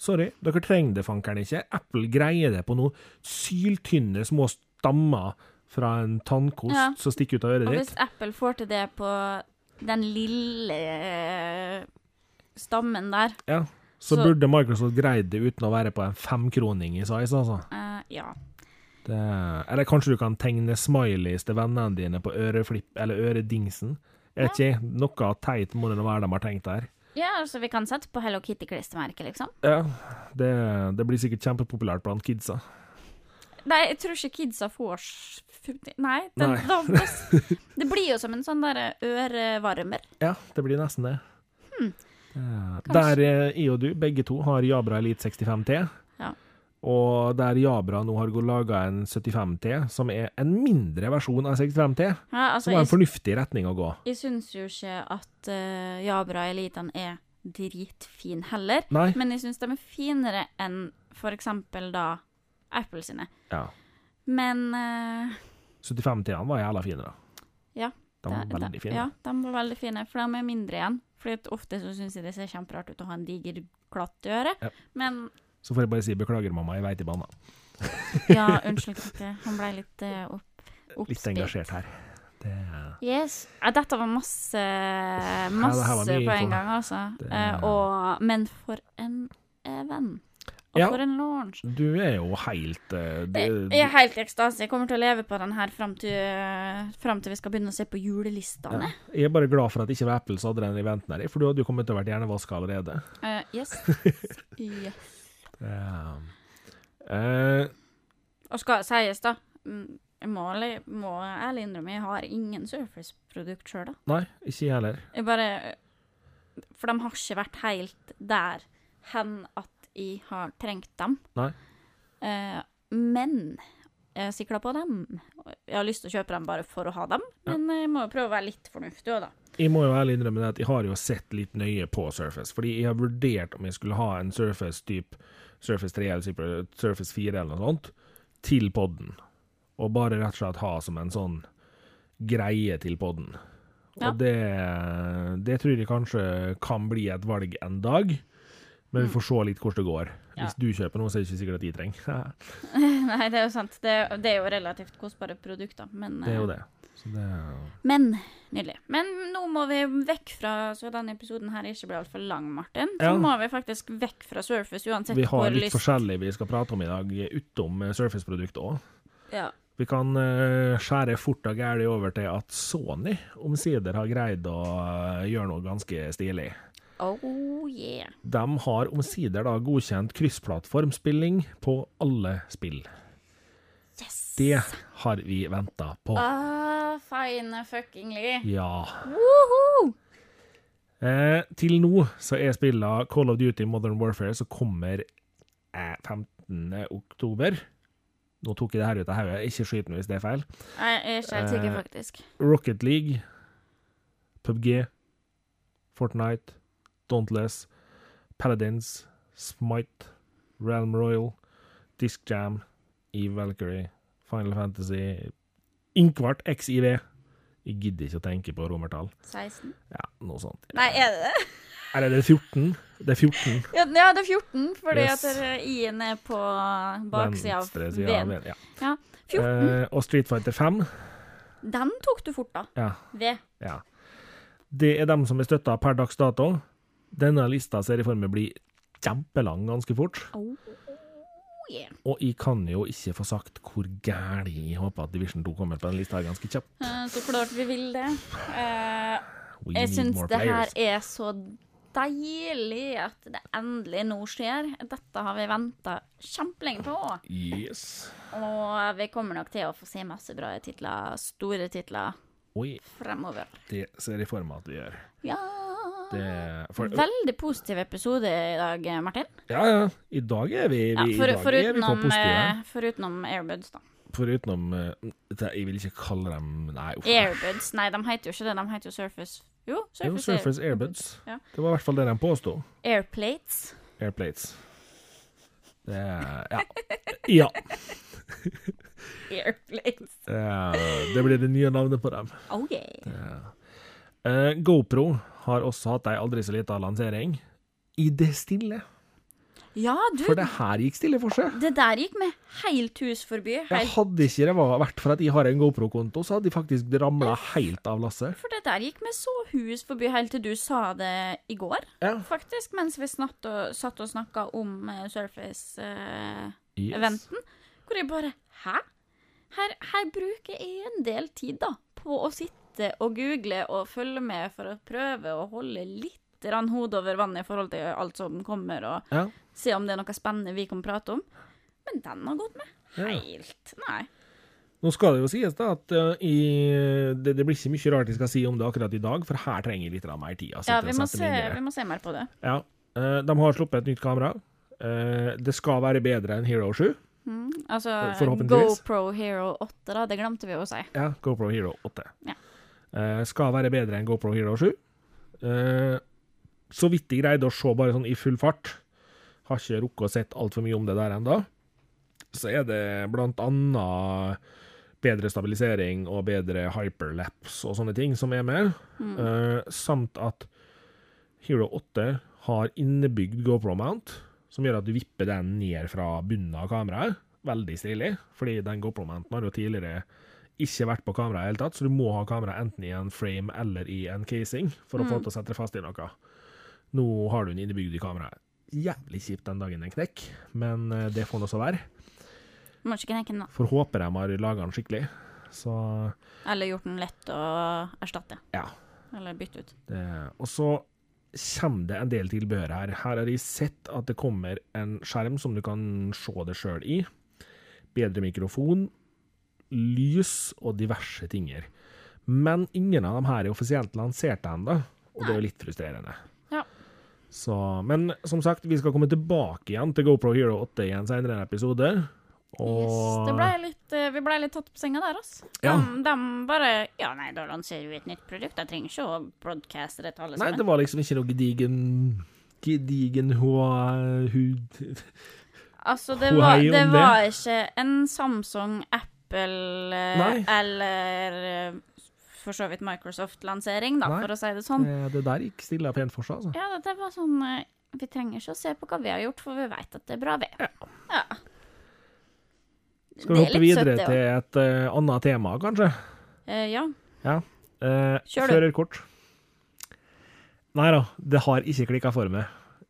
[SPEAKER 1] Sorry, dere trenger det fankeren ikke. Apple greier det på noen syltynne små stammer fra en tannkost
[SPEAKER 2] Ja.
[SPEAKER 1] som stikker ut av øret
[SPEAKER 2] og
[SPEAKER 1] ditt.
[SPEAKER 2] hvis Apple får til det på den lille eh, stammen der
[SPEAKER 1] Ja. Så,
[SPEAKER 2] Så-
[SPEAKER 1] burde Microsoft greid det uten å være på en femkroning i size, altså.
[SPEAKER 2] eh, Ja.
[SPEAKER 1] Det, eller kanskje du kan tegne smileys til vennene dine på øreflipp eller øredingsen. Jeg vet ikke, noe teit må det nå være de har tenkt der.
[SPEAKER 2] Ja, altså vi kan sette på Hello Kitty-klistremerket, liksom.
[SPEAKER 1] Ja, det, det blir sikkert kjempepopulært blant kidsa.
[SPEAKER 2] Nei, jeg tror ikke kidsa får s- f- Nei. Den,
[SPEAKER 1] Nei.
[SPEAKER 2] Da, da
[SPEAKER 1] *laughs*
[SPEAKER 2] s- det blir jo som en sånn derre ørevarmer.
[SPEAKER 1] Ja, det blir nesten det. Eh,
[SPEAKER 2] Hmm. kanskje.
[SPEAKER 1] Der eh, jeg og du, begge to, har Jabra Elite 65T.
[SPEAKER 2] Ja.
[SPEAKER 1] Og der Jabra nå har laga en 75T, som er en mindre versjon av 65T,
[SPEAKER 2] Ja, altså,
[SPEAKER 1] som er en
[SPEAKER 2] jeg,
[SPEAKER 1] fornuftig retning å gå.
[SPEAKER 2] jeg syns jo ikke at eh, Jabra Elitan er dritfin heller,
[SPEAKER 1] Nei?
[SPEAKER 2] men jeg syns de er finere enn for eksempel da Apple sine.
[SPEAKER 1] Ja.
[SPEAKER 2] Men eh,
[SPEAKER 1] 75T-ene var jævla fine, da.
[SPEAKER 2] Ja,
[SPEAKER 1] De var
[SPEAKER 2] da- da-
[SPEAKER 1] veldig fine.
[SPEAKER 2] Ja, de var veldig fine, for de er mindre igjen. Fordi at ofte så syns jeg det ser kjemperart ut å ha en diger klatt i øret,
[SPEAKER 1] Ja.
[SPEAKER 2] men
[SPEAKER 1] *laughs* Så får jeg bare si beklager, mamma, jeg veit i banna.
[SPEAKER 2] Ja, unnskyld, Katte. Han ble litt eh, opp,
[SPEAKER 1] Litt
[SPEAKER 2] oppspilt.
[SPEAKER 1] engasjert her. Det,
[SPEAKER 2] Yes. Ja, dette var masse,
[SPEAKER 1] det her var
[SPEAKER 2] masse
[SPEAKER 1] mye
[SPEAKER 2] på
[SPEAKER 1] info.
[SPEAKER 2] en gang, altså.
[SPEAKER 1] Det-
[SPEAKER 2] Eh, og, men for en eh, venn. Og
[SPEAKER 1] Ja.
[SPEAKER 2] for en launch.
[SPEAKER 1] du er jo helt eh,
[SPEAKER 2] Det
[SPEAKER 1] du-
[SPEAKER 2] jeg er helt i ekstase. Jeg kommer til å leve på den her fram til, fram til vi skal begynne å se på julelistene.
[SPEAKER 1] Jeg er bare glad for at ikke var Apple som hadde den eventen her, for du hadde jo kommet til å vært hjernevaska allerede.
[SPEAKER 2] Eh,
[SPEAKER 1] *laughs*
[SPEAKER 2] yes. yes.
[SPEAKER 1] Det- eh,
[SPEAKER 2] Og skal sies, da. mm, Jeg må, ærlig- må ærlig innrømme, jeg har ingen Surface-produkt sjøl, da.
[SPEAKER 1] nei, ikke jeg heller.
[SPEAKER 2] Jeg bare For de har ikke vært helt der hen at jeg har trengt dem.
[SPEAKER 1] Nei.
[SPEAKER 2] Eh, men jeg er sikla på dem. Jeg har lyst til å kjøpe dem bare for å ha dem, men jeg må jo prøve å være litt fornuftig òg, da. *laughs*
[SPEAKER 1] Jeg må jo ærlig innrømme det at jeg har jo sett litt nøye på Surface, fordi jeg har vurdert om jeg skulle ha en Surface type Surface 3 eller Super- Surface 4 eller noe sånt, til podden. Og bare rett og slett ha som en sånn greie til podden.
[SPEAKER 2] Ja.
[SPEAKER 1] Og det, det tror jeg kanskje kan bli et valg en dag, men vi får se litt hvordan det går.
[SPEAKER 2] Mm. Ja.
[SPEAKER 1] Hvis du kjøper noe, så er det ikke sikkert at jeg trenger. *laughs*
[SPEAKER 2] Nei, det er jo sant. Det, det er jo relativt kostbare produkter, men
[SPEAKER 1] Det er jo
[SPEAKER 2] eh,
[SPEAKER 1] det. Så det
[SPEAKER 2] Men nydelig. Men nå må vi vekk fra Så denne episoden her ikke blir altfor lang, Martin. Så
[SPEAKER 1] Ja.
[SPEAKER 2] må vi faktisk vekk fra Surface uansett
[SPEAKER 1] vi har
[SPEAKER 2] hvor
[SPEAKER 1] litt
[SPEAKER 2] lyst
[SPEAKER 1] forskjellig vi skal prate om i dag, utom eh, Surface-produktet òg.
[SPEAKER 2] Ja.
[SPEAKER 1] Vi kan eh, skjære fort og gærlig over til at Sony omsider har greid å eh, gjøre noe ganske stilig.
[SPEAKER 2] Oh yeah.
[SPEAKER 1] De har omsider da godkjent kryssplattformspilling på alle spill.
[SPEAKER 2] Yes.
[SPEAKER 1] Det har vi venta på.
[SPEAKER 2] Ah, fine fuckingly.
[SPEAKER 1] Ja.
[SPEAKER 2] Woho!
[SPEAKER 1] Eh, til nå så er spilla Call of Duty Modern Warfare som kommer eh, 15. oktober. Nå tok jeg det her ut av hodet, ikke skyt meg hvis det er feil.
[SPEAKER 2] Jeg er ikke helt sikker,
[SPEAKER 1] Eh.
[SPEAKER 2] faktisk.
[SPEAKER 1] Rocket League, PubG, Fortnite, Dauntless, Paladins, Smite, Realm Royal, Disc Jam, Eve Valkyrie, Final Fantasy, Inkvart, XIV. Jeg gidder ikke å tenke på romertall.
[SPEAKER 2] 16?
[SPEAKER 1] Ja, noe sånt.
[SPEAKER 2] Nei, er det det?
[SPEAKER 1] Eller er det 14? Det er 14.
[SPEAKER 2] Ja, ja, det er 14, fordi
[SPEAKER 1] Yes.
[SPEAKER 2] at eh, i-en er på baksida av
[SPEAKER 1] Venstre siden av
[SPEAKER 2] V-en.
[SPEAKER 1] V-en, Ja.
[SPEAKER 2] Ja. 14.
[SPEAKER 1] Eh, og Street Fighter 5.
[SPEAKER 2] Den tok du fort, da.
[SPEAKER 1] Ja,
[SPEAKER 2] V.
[SPEAKER 1] ja. Det er dem som er støtta per dags dato. Denne lista ser jeg for meg blir kjempelang ganske fort.
[SPEAKER 2] Oh, yeah.
[SPEAKER 1] Og jeg kan jo ikke få sagt hvor gæli jeg håper at Division 2 kommer på den lista her ganske kjapt.
[SPEAKER 2] Eh, Så klart vi vil det. Eh,
[SPEAKER 1] We
[SPEAKER 2] Jeg
[SPEAKER 1] need
[SPEAKER 2] syns
[SPEAKER 1] more
[SPEAKER 2] det her
[SPEAKER 1] players.
[SPEAKER 2] er så deilig at det endelig nå skjer. Dette har vi venta kjempelenge på.
[SPEAKER 1] Yes.
[SPEAKER 2] Og vi kommer nok til å få se masse bra titler, store titler,
[SPEAKER 1] Oi,
[SPEAKER 2] fremover.
[SPEAKER 1] det ser jeg for meg at vi gjør.
[SPEAKER 2] Ja
[SPEAKER 1] Det, for,
[SPEAKER 2] Veldig positiv episode i dag, Martin.
[SPEAKER 1] ja, ja. I dag er vi, vi,
[SPEAKER 2] Ja, for,
[SPEAKER 1] i dag er vi på
[SPEAKER 2] forutenom,
[SPEAKER 1] positive.
[SPEAKER 2] eh, forutenom Airbuds, da.
[SPEAKER 1] Forutenom eh, det, Jeg vil ikke kalle dem Nei, uff.
[SPEAKER 2] Airbuds, nei, de heter jo ikke det. De heter jo Surface. Jo,
[SPEAKER 1] Jo,
[SPEAKER 2] Surface, Air-
[SPEAKER 1] Surface Airbuds.
[SPEAKER 2] Ja.
[SPEAKER 1] Det var i hvert fall det de påsto.
[SPEAKER 2] Airplates.
[SPEAKER 1] Airplates. Det er Ja. ja.
[SPEAKER 2] Airplates.
[SPEAKER 1] Eh, Det blir det nye navnet på dem.
[SPEAKER 2] Oh yeah.
[SPEAKER 1] Eh, GoPro har også hatt ei aldri så lita lansering. I det stille.
[SPEAKER 2] Ja, du,
[SPEAKER 1] For det her gikk stille for seg.
[SPEAKER 2] det der gikk med helt hus forbi.
[SPEAKER 1] Jeg
[SPEAKER 2] Helt
[SPEAKER 1] hadde ikke det var- vært for at jeg har en GoPro-konto, så hadde jeg faktisk ramla helt av lasset.
[SPEAKER 2] For det der gikk vi så hus forbi helt til du sa det i går,
[SPEAKER 1] Ja.
[SPEAKER 2] faktisk, mens vi snatt og, satt og snakka om eh, Surface-eventen.
[SPEAKER 1] Yes.
[SPEAKER 2] hvor jeg bare Hæ? Her, her bruker jeg en del tid, da, på å sitte og google og følge med for å prøve å holde litt grann hodet over vannet i forhold til alt som kommer, og
[SPEAKER 1] Ja.
[SPEAKER 2] se om det er noe spennende vi kan prate om. Men den har gått med
[SPEAKER 1] Ja.
[SPEAKER 2] helt. Nei.
[SPEAKER 1] Nå skal det jo sies da at eh, i, det, det blir ikke mye rart jeg skal si om det akkurat i dag, for her trenger jeg litt av mer tid. altså,
[SPEAKER 2] Ja,
[SPEAKER 1] til
[SPEAKER 2] vi
[SPEAKER 1] å
[SPEAKER 2] må,
[SPEAKER 1] sette
[SPEAKER 2] se,
[SPEAKER 1] meg inn i det.
[SPEAKER 2] vi må se mer på det.
[SPEAKER 1] Ja. eh, De har sluppet et nytt kamera. Eh, Det skal være bedre enn Hero 7.
[SPEAKER 2] Mm, altså
[SPEAKER 1] Forhåpentligvis.
[SPEAKER 2] GoPro Hero 8, da. Det glemte vi å si.
[SPEAKER 1] Ja, GoPro Hero 8.
[SPEAKER 2] Ja.
[SPEAKER 1] Eh, Skal være bedre enn GoPro Hero 7. Eh, Så vidt jeg greide å se bare sånn i full fart, har ikke rukket å sett altfor mye om det der ennå, så er det blant annet bedre stabilisering og bedre hyperlapse og sånne ting som er med, Eh, samt at Hero 8 har innebygd GoPro mount, som gjør at du vipper den ned fra bunnen av kameraet, veldig stilig, fordi den GoPro mounten har jo tidligere ikke vært på kamera i det hele tatt, så du må ha kamera enten i en frame eller i en casing for å få til å sette fast i noe. Nå har du den innebygd i kameraet. Jævlig kjipt den dagen den knekker, men eh, det får nå så være.
[SPEAKER 2] Må ikke knekke den, da.
[SPEAKER 1] For håper de har laga den skikkelig. Så
[SPEAKER 2] Eller gjort den lett å erstatte.
[SPEAKER 1] ja.
[SPEAKER 2] Eller bytte ut.
[SPEAKER 1] Det, og så kommer det en del tilbehør her. Her har jeg sett at det kommer en skjerm som du kan se det sjøl i. Bedre mikrofon, lys og diverse tinger. Men ingen av dem her er offisielt lansert ennå, og det er jo litt frustrerende.
[SPEAKER 2] Ja.
[SPEAKER 1] Så, men som sagt, vi skal komme tilbake igjen til GoPro Hero 8 i en senere episode. Og
[SPEAKER 2] Yes, det ble litt, eh, vi ble litt tatt på senga der, altså. De,
[SPEAKER 1] Ja.
[SPEAKER 2] de bare Ja, nei, da lanserer vi et nytt produkt. Jeg trenger ikke å broadcaste det til alle
[SPEAKER 1] Nei, det
[SPEAKER 2] sammen.
[SPEAKER 1] var liksom ikke noe gedigen Gedigen hå- hud...
[SPEAKER 2] altså, det
[SPEAKER 1] Hei
[SPEAKER 2] var,
[SPEAKER 1] om
[SPEAKER 2] det
[SPEAKER 1] det.
[SPEAKER 2] var ikke en Samsung, Apple eh,
[SPEAKER 1] Nei.
[SPEAKER 2] eller eh, for så vidt Microsoft-lansering, da,
[SPEAKER 1] Nei.
[SPEAKER 2] for å si det sånn.
[SPEAKER 1] Eh, Det, det der gikk stille pent for seg, altså.
[SPEAKER 2] Ja, det, det var sånn eh, Vi trenger ikke å se på hva vi har gjort, for vi veit at det er bra, vi.
[SPEAKER 1] Ja.
[SPEAKER 2] Ja.
[SPEAKER 1] Skal vi
[SPEAKER 2] Det er
[SPEAKER 1] hoppe
[SPEAKER 2] litt søtt,
[SPEAKER 1] videre
[SPEAKER 2] det
[SPEAKER 1] til et eh, annet tema, kanskje?
[SPEAKER 2] også. Eh, ja.
[SPEAKER 1] Eh,
[SPEAKER 2] Kjør du.
[SPEAKER 1] Førerkort. Nei da, det har ikke klikka for meg.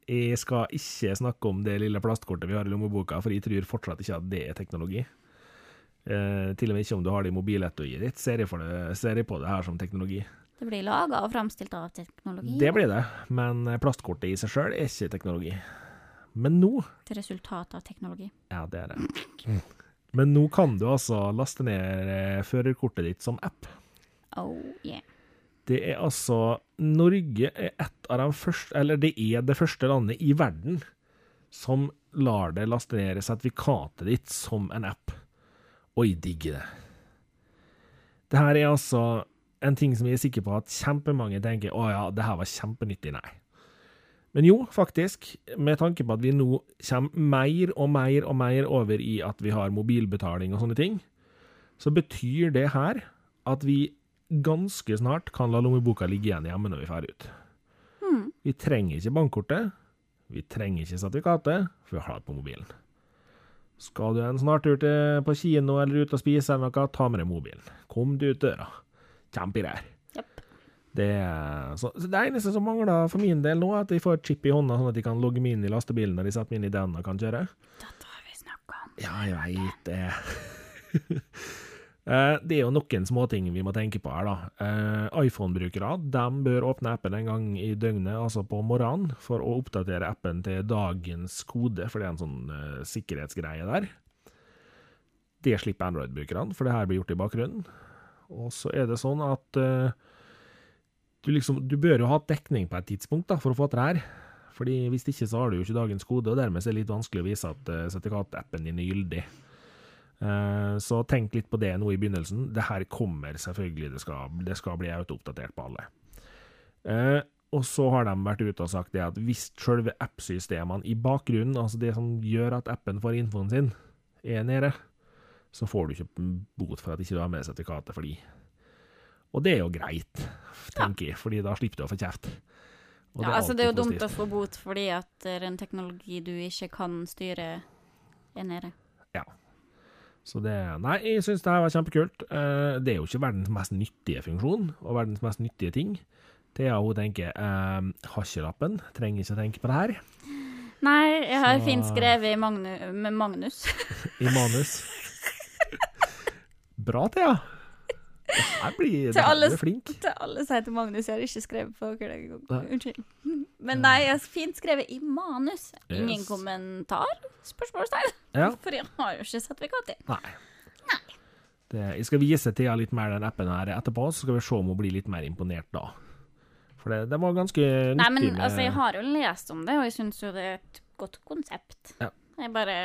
[SPEAKER 1] Jeg skal ikke snakke om det lille plastkortet vi har i lommeboka, for jeg tror fortsatt ikke at det er teknologi. Eh, til og med ikke om du har det i mobilettoiet ditt, ser jeg, for det, ser jeg på det her som teknologi.
[SPEAKER 2] Det blir laga og framstilt av teknologi.
[SPEAKER 1] Det blir det, men eh, plastkortet i seg sjøl er ikke teknologi. Men nå
[SPEAKER 2] Til resultat av teknologi.
[SPEAKER 1] Ja, det er det. Men nå kan du altså laste ned eh, førerkortet ditt som app.
[SPEAKER 2] Oh yeah.
[SPEAKER 1] Det er altså Norge er et av de første Eller det er det første landet i verden som lar det laste ned sertifikatet ditt som en app. Og jeg digger det. Det her er altså en ting som jeg er sikker på at kjempemange tenker å ja, det her var kjempenyttig. Nei. Men jo, faktisk, med tanke på at vi nå kommer mer og mer og mer over i at vi har mobilbetaling og sånne ting, så betyr det her at vi ganske snart kan la lommeboka ligge igjen hjemme når vi drar ut. Vi trenger ikke bankkortet, vi trenger ikke sertifikatet, for vi har det på mobilen. Skal du en snartur til på kino eller ut og spise eller noe, ta med deg mobilen. Kom du ut døra. Kjempegreier.
[SPEAKER 2] Japp.
[SPEAKER 1] Det, er- så, så det eneste som mangler for min del nå, er at jeg får et chip i hånda, sånn at de kan logge meg inn i lastebilen når de setter meg inn i den og kan kjøre.
[SPEAKER 2] Dette har vi snakka om.
[SPEAKER 1] Ja, jeg veit det. *laughs* Eh, Det er jo noen småting vi må tenke på her, da. Eh, iPhone-brukere de bør åpne appen en gang i døgnet, altså på morgenen, for å oppdatere appen til dagens kode, for det er en sånn eh, sikkerhetsgreie der. Det slipper Android-brukerne, for det her blir gjort i bakgrunnen. Og så er det sånn at eh, du liksom Du bør jo ha dekning på et tidspunkt da, for å få til det her. Fordi hvis ikke så har du jo ikke dagens kode, og dermed så er det litt vanskelig å vise at eh, sertifikatappen din er gyldig. Eh, Så tenk litt på det nå i begynnelsen. Det her kommer selvfølgelig, det skal, det skal bli autooppdatert på alle. Eh, Og så har de vært ute og sagt det at hvis selve appsystemene i bakgrunnen, altså det som gjør at appen får infoen sin, er nede, så får du ikke bot for at ikke du har med sertifikatet for de. Og det er jo greit, tenker jeg, fordi da slipper du å få kjeft. Og
[SPEAKER 2] Ja, altså, det er jo
[SPEAKER 1] alltid positivt.
[SPEAKER 2] dumt å få bot fordi at det er en teknologi du ikke kan styre, er nede.
[SPEAKER 1] Så det, nei, jeg syns det her var kjempekult. Eh, det er jo ikke verdens mest nyttige funksjon, og verdens mest nyttige ting. Thea hun tenker eh, har ikke lappen, trenger ikke å tenke på det her.
[SPEAKER 2] Nei, jeg har
[SPEAKER 1] Så-
[SPEAKER 2] fint skrevet i Magnu med Magnus. *laughs*
[SPEAKER 1] I manus. *laughs* Bra, Thea. Det Her blir,
[SPEAKER 2] Til
[SPEAKER 1] det her
[SPEAKER 2] alles-
[SPEAKER 1] blir flink.
[SPEAKER 2] Det alle sier til Magnus, jeg har ikke skrevet på hverdagen.
[SPEAKER 1] Nei.
[SPEAKER 2] Unnskyld. *laughs* Men nei, jeg har fint skrevet i manus. Ingen
[SPEAKER 1] Yes.
[SPEAKER 2] kommentar? Spørsmålstegn? *laughs*
[SPEAKER 1] Ja.
[SPEAKER 2] For jeg har jo ikke sertifikat i.
[SPEAKER 1] Nei. Det, jeg skal vise Thea litt mer den appen her etterpå, så skal vi se om hun blir litt mer imponert da. For det, det var ganske nyttig
[SPEAKER 2] Nei, men
[SPEAKER 1] med
[SPEAKER 2] altså, jeg har jo lest om det, og jeg syns jo det er et godt konsept.
[SPEAKER 1] Ja.
[SPEAKER 2] Jeg bare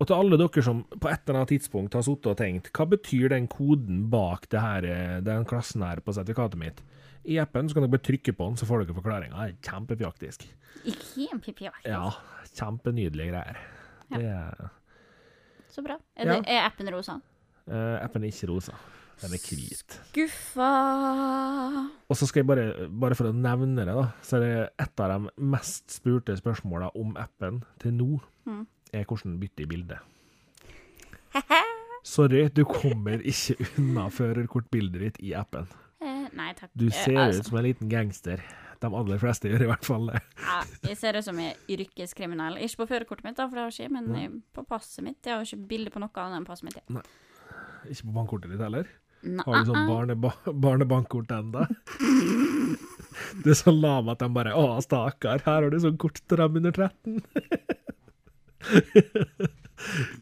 [SPEAKER 1] Og til alle dere som på et eller annet tidspunkt har sittet og tenkt hva betyr den koden bak det her, eh, den klassen her på sertifikatet mitt? I appen så kan dere bare trykke på den, så får dere forklaringa. Kjempepjaktisk.
[SPEAKER 2] Ikke en pipi,
[SPEAKER 1] Ja, kjempenydelige greier.
[SPEAKER 2] Ja.
[SPEAKER 1] Det er,
[SPEAKER 2] Så bra. Er, det, er appen rosa?
[SPEAKER 1] eh, appen er ikke rosa, den er hvit.
[SPEAKER 2] Guffa
[SPEAKER 1] Og så skal jeg bare, bare for å nevne det, da, så er det et av de mest spurte spørsmåla om appen til nå,
[SPEAKER 2] Mm.
[SPEAKER 1] er hvordan bytte i
[SPEAKER 2] *laughs*
[SPEAKER 1] bilde. Sorry, du kommer ikke unna førerkortbildet ditt i appen.
[SPEAKER 2] eh, Nei takk.
[SPEAKER 1] Du
[SPEAKER 2] Eh,
[SPEAKER 1] ser
[SPEAKER 2] altså,
[SPEAKER 1] ut som en liten gangster. De aller fleste gjør i hvert fall det.
[SPEAKER 2] ja, Jeg ser ut som jeg er yrkeskriminell. Ikke på førerkortet mitt, da, for det har jeg ikke, men eh, på passet mitt. Jeg har jo ikke bilde på noe annet enn passet mitt.
[SPEAKER 1] Ikke på bankkortet ditt heller.
[SPEAKER 2] Nei.
[SPEAKER 1] Har du sånn barneba barnebankkort
[SPEAKER 2] *laughs*
[SPEAKER 1] ennå? Det er så lam at de bare Å, stakkar, her har du sånn kort til dem under 13.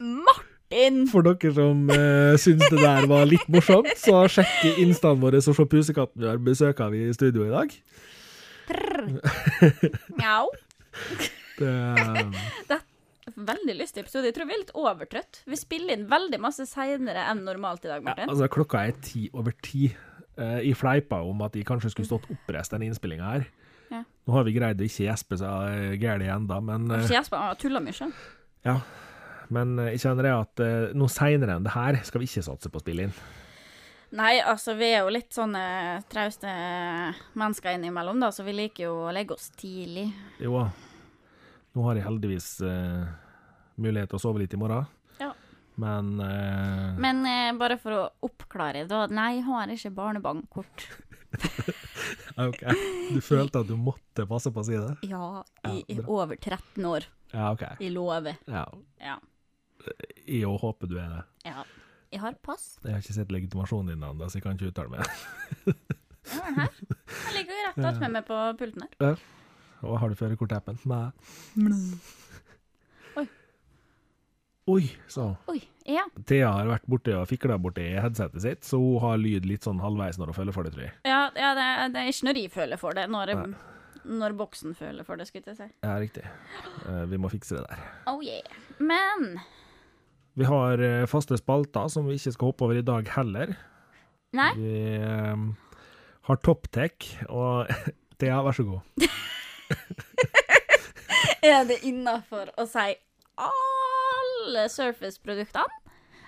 [SPEAKER 2] Martin!
[SPEAKER 1] For dere som uh, syns det der var litt morsomt, så sjekke instaen vår og se Pusekatten vi har besøk av i studio i dag.
[SPEAKER 2] Mjau.
[SPEAKER 1] Det,
[SPEAKER 2] Veldig lystig episode. Jeg tror vi er litt overtrøtt. Vi spiller inn veldig masse seinere enn normalt i dag,
[SPEAKER 1] ja,
[SPEAKER 2] Martin.
[SPEAKER 1] altså, klokka er ti over ti. Eh, jeg fleipa om at jeg kanskje skulle stått oppreist denne innspillinga her.
[SPEAKER 2] Ja.
[SPEAKER 1] Nå har vi greid å ikke gjespe seg gæli enda, men eh,
[SPEAKER 2] Så Jesper har tulla mye.
[SPEAKER 1] Ja, men eh, jeg kjenner det at eh, noe seinere enn det her skal vi ikke satse på å spille inn.
[SPEAKER 2] Nei, altså, vi er jo litt sånne trauste mennesker innimellom, da, så vi liker jo å legge oss tidlig.
[SPEAKER 1] Jo, nå har jeg heldigvis eh, mulighet til å sove litt i morgen,
[SPEAKER 2] Ja.
[SPEAKER 1] men eh,
[SPEAKER 2] Men eh, bare for å oppklare, da. Nei, jeg har ikke barnebankkort.
[SPEAKER 1] Ah, OK. Du følte at du måtte passe på å si det?
[SPEAKER 2] Ja,
[SPEAKER 1] Ja,
[SPEAKER 2] i, i
[SPEAKER 1] bra.
[SPEAKER 2] over 13 år.
[SPEAKER 1] Ja, OK.
[SPEAKER 2] Jeg lover.
[SPEAKER 1] Ja.
[SPEAKER 2] Ja.
[SPEAKER 1] Jeg òg håper du er det.
[SPEAKER 2] ja. Jeg har pass.
[SPEAKER 1] Jeg har ikke sett legitimasjonen din ennå, så jeg kan ikke uttale meg. *laughs*
[SPEAKER 2] Jeg har den her. Den ligger jo rett attmed meg på pulten her.
[SPEAKER 1] Og har du førerkortappen? Nei.
[SPEAKER 2] Oi.
[SPEAKER 1] Oi, sa hun.
[SPEAKER 2] Oi. Ja.
[SPEAKER 1] Thea har vært borte og fikla borti headsetet sitt, så hun har lyd litt sånn halvveis når hun følger for det, tror jeg.
[SPEAKER 2] Ja, ja det, er- det er ikke når jeg føler for det. Når,
[SPEAKER 1] Nei.
[SPEAKER 2] når boksen føler for det, skulle jeg til å si.
[SPEAKER 1] Ja, riktig. Eh, Vi må fikse det der.
[SPEAKER 2] Oh yeah. Men
[SPEAKER 1] Vi har eh, faste spalter som vi ikke skal hoppe over i dag heller.
[SPEAKER 2] Nei.
[SPEAKER 1] Vi eh, har topptech, og *laughs* Thea, vær så god.
[SPEAKER 2] *laughs* Er det innafor å si alle Surface-produktene?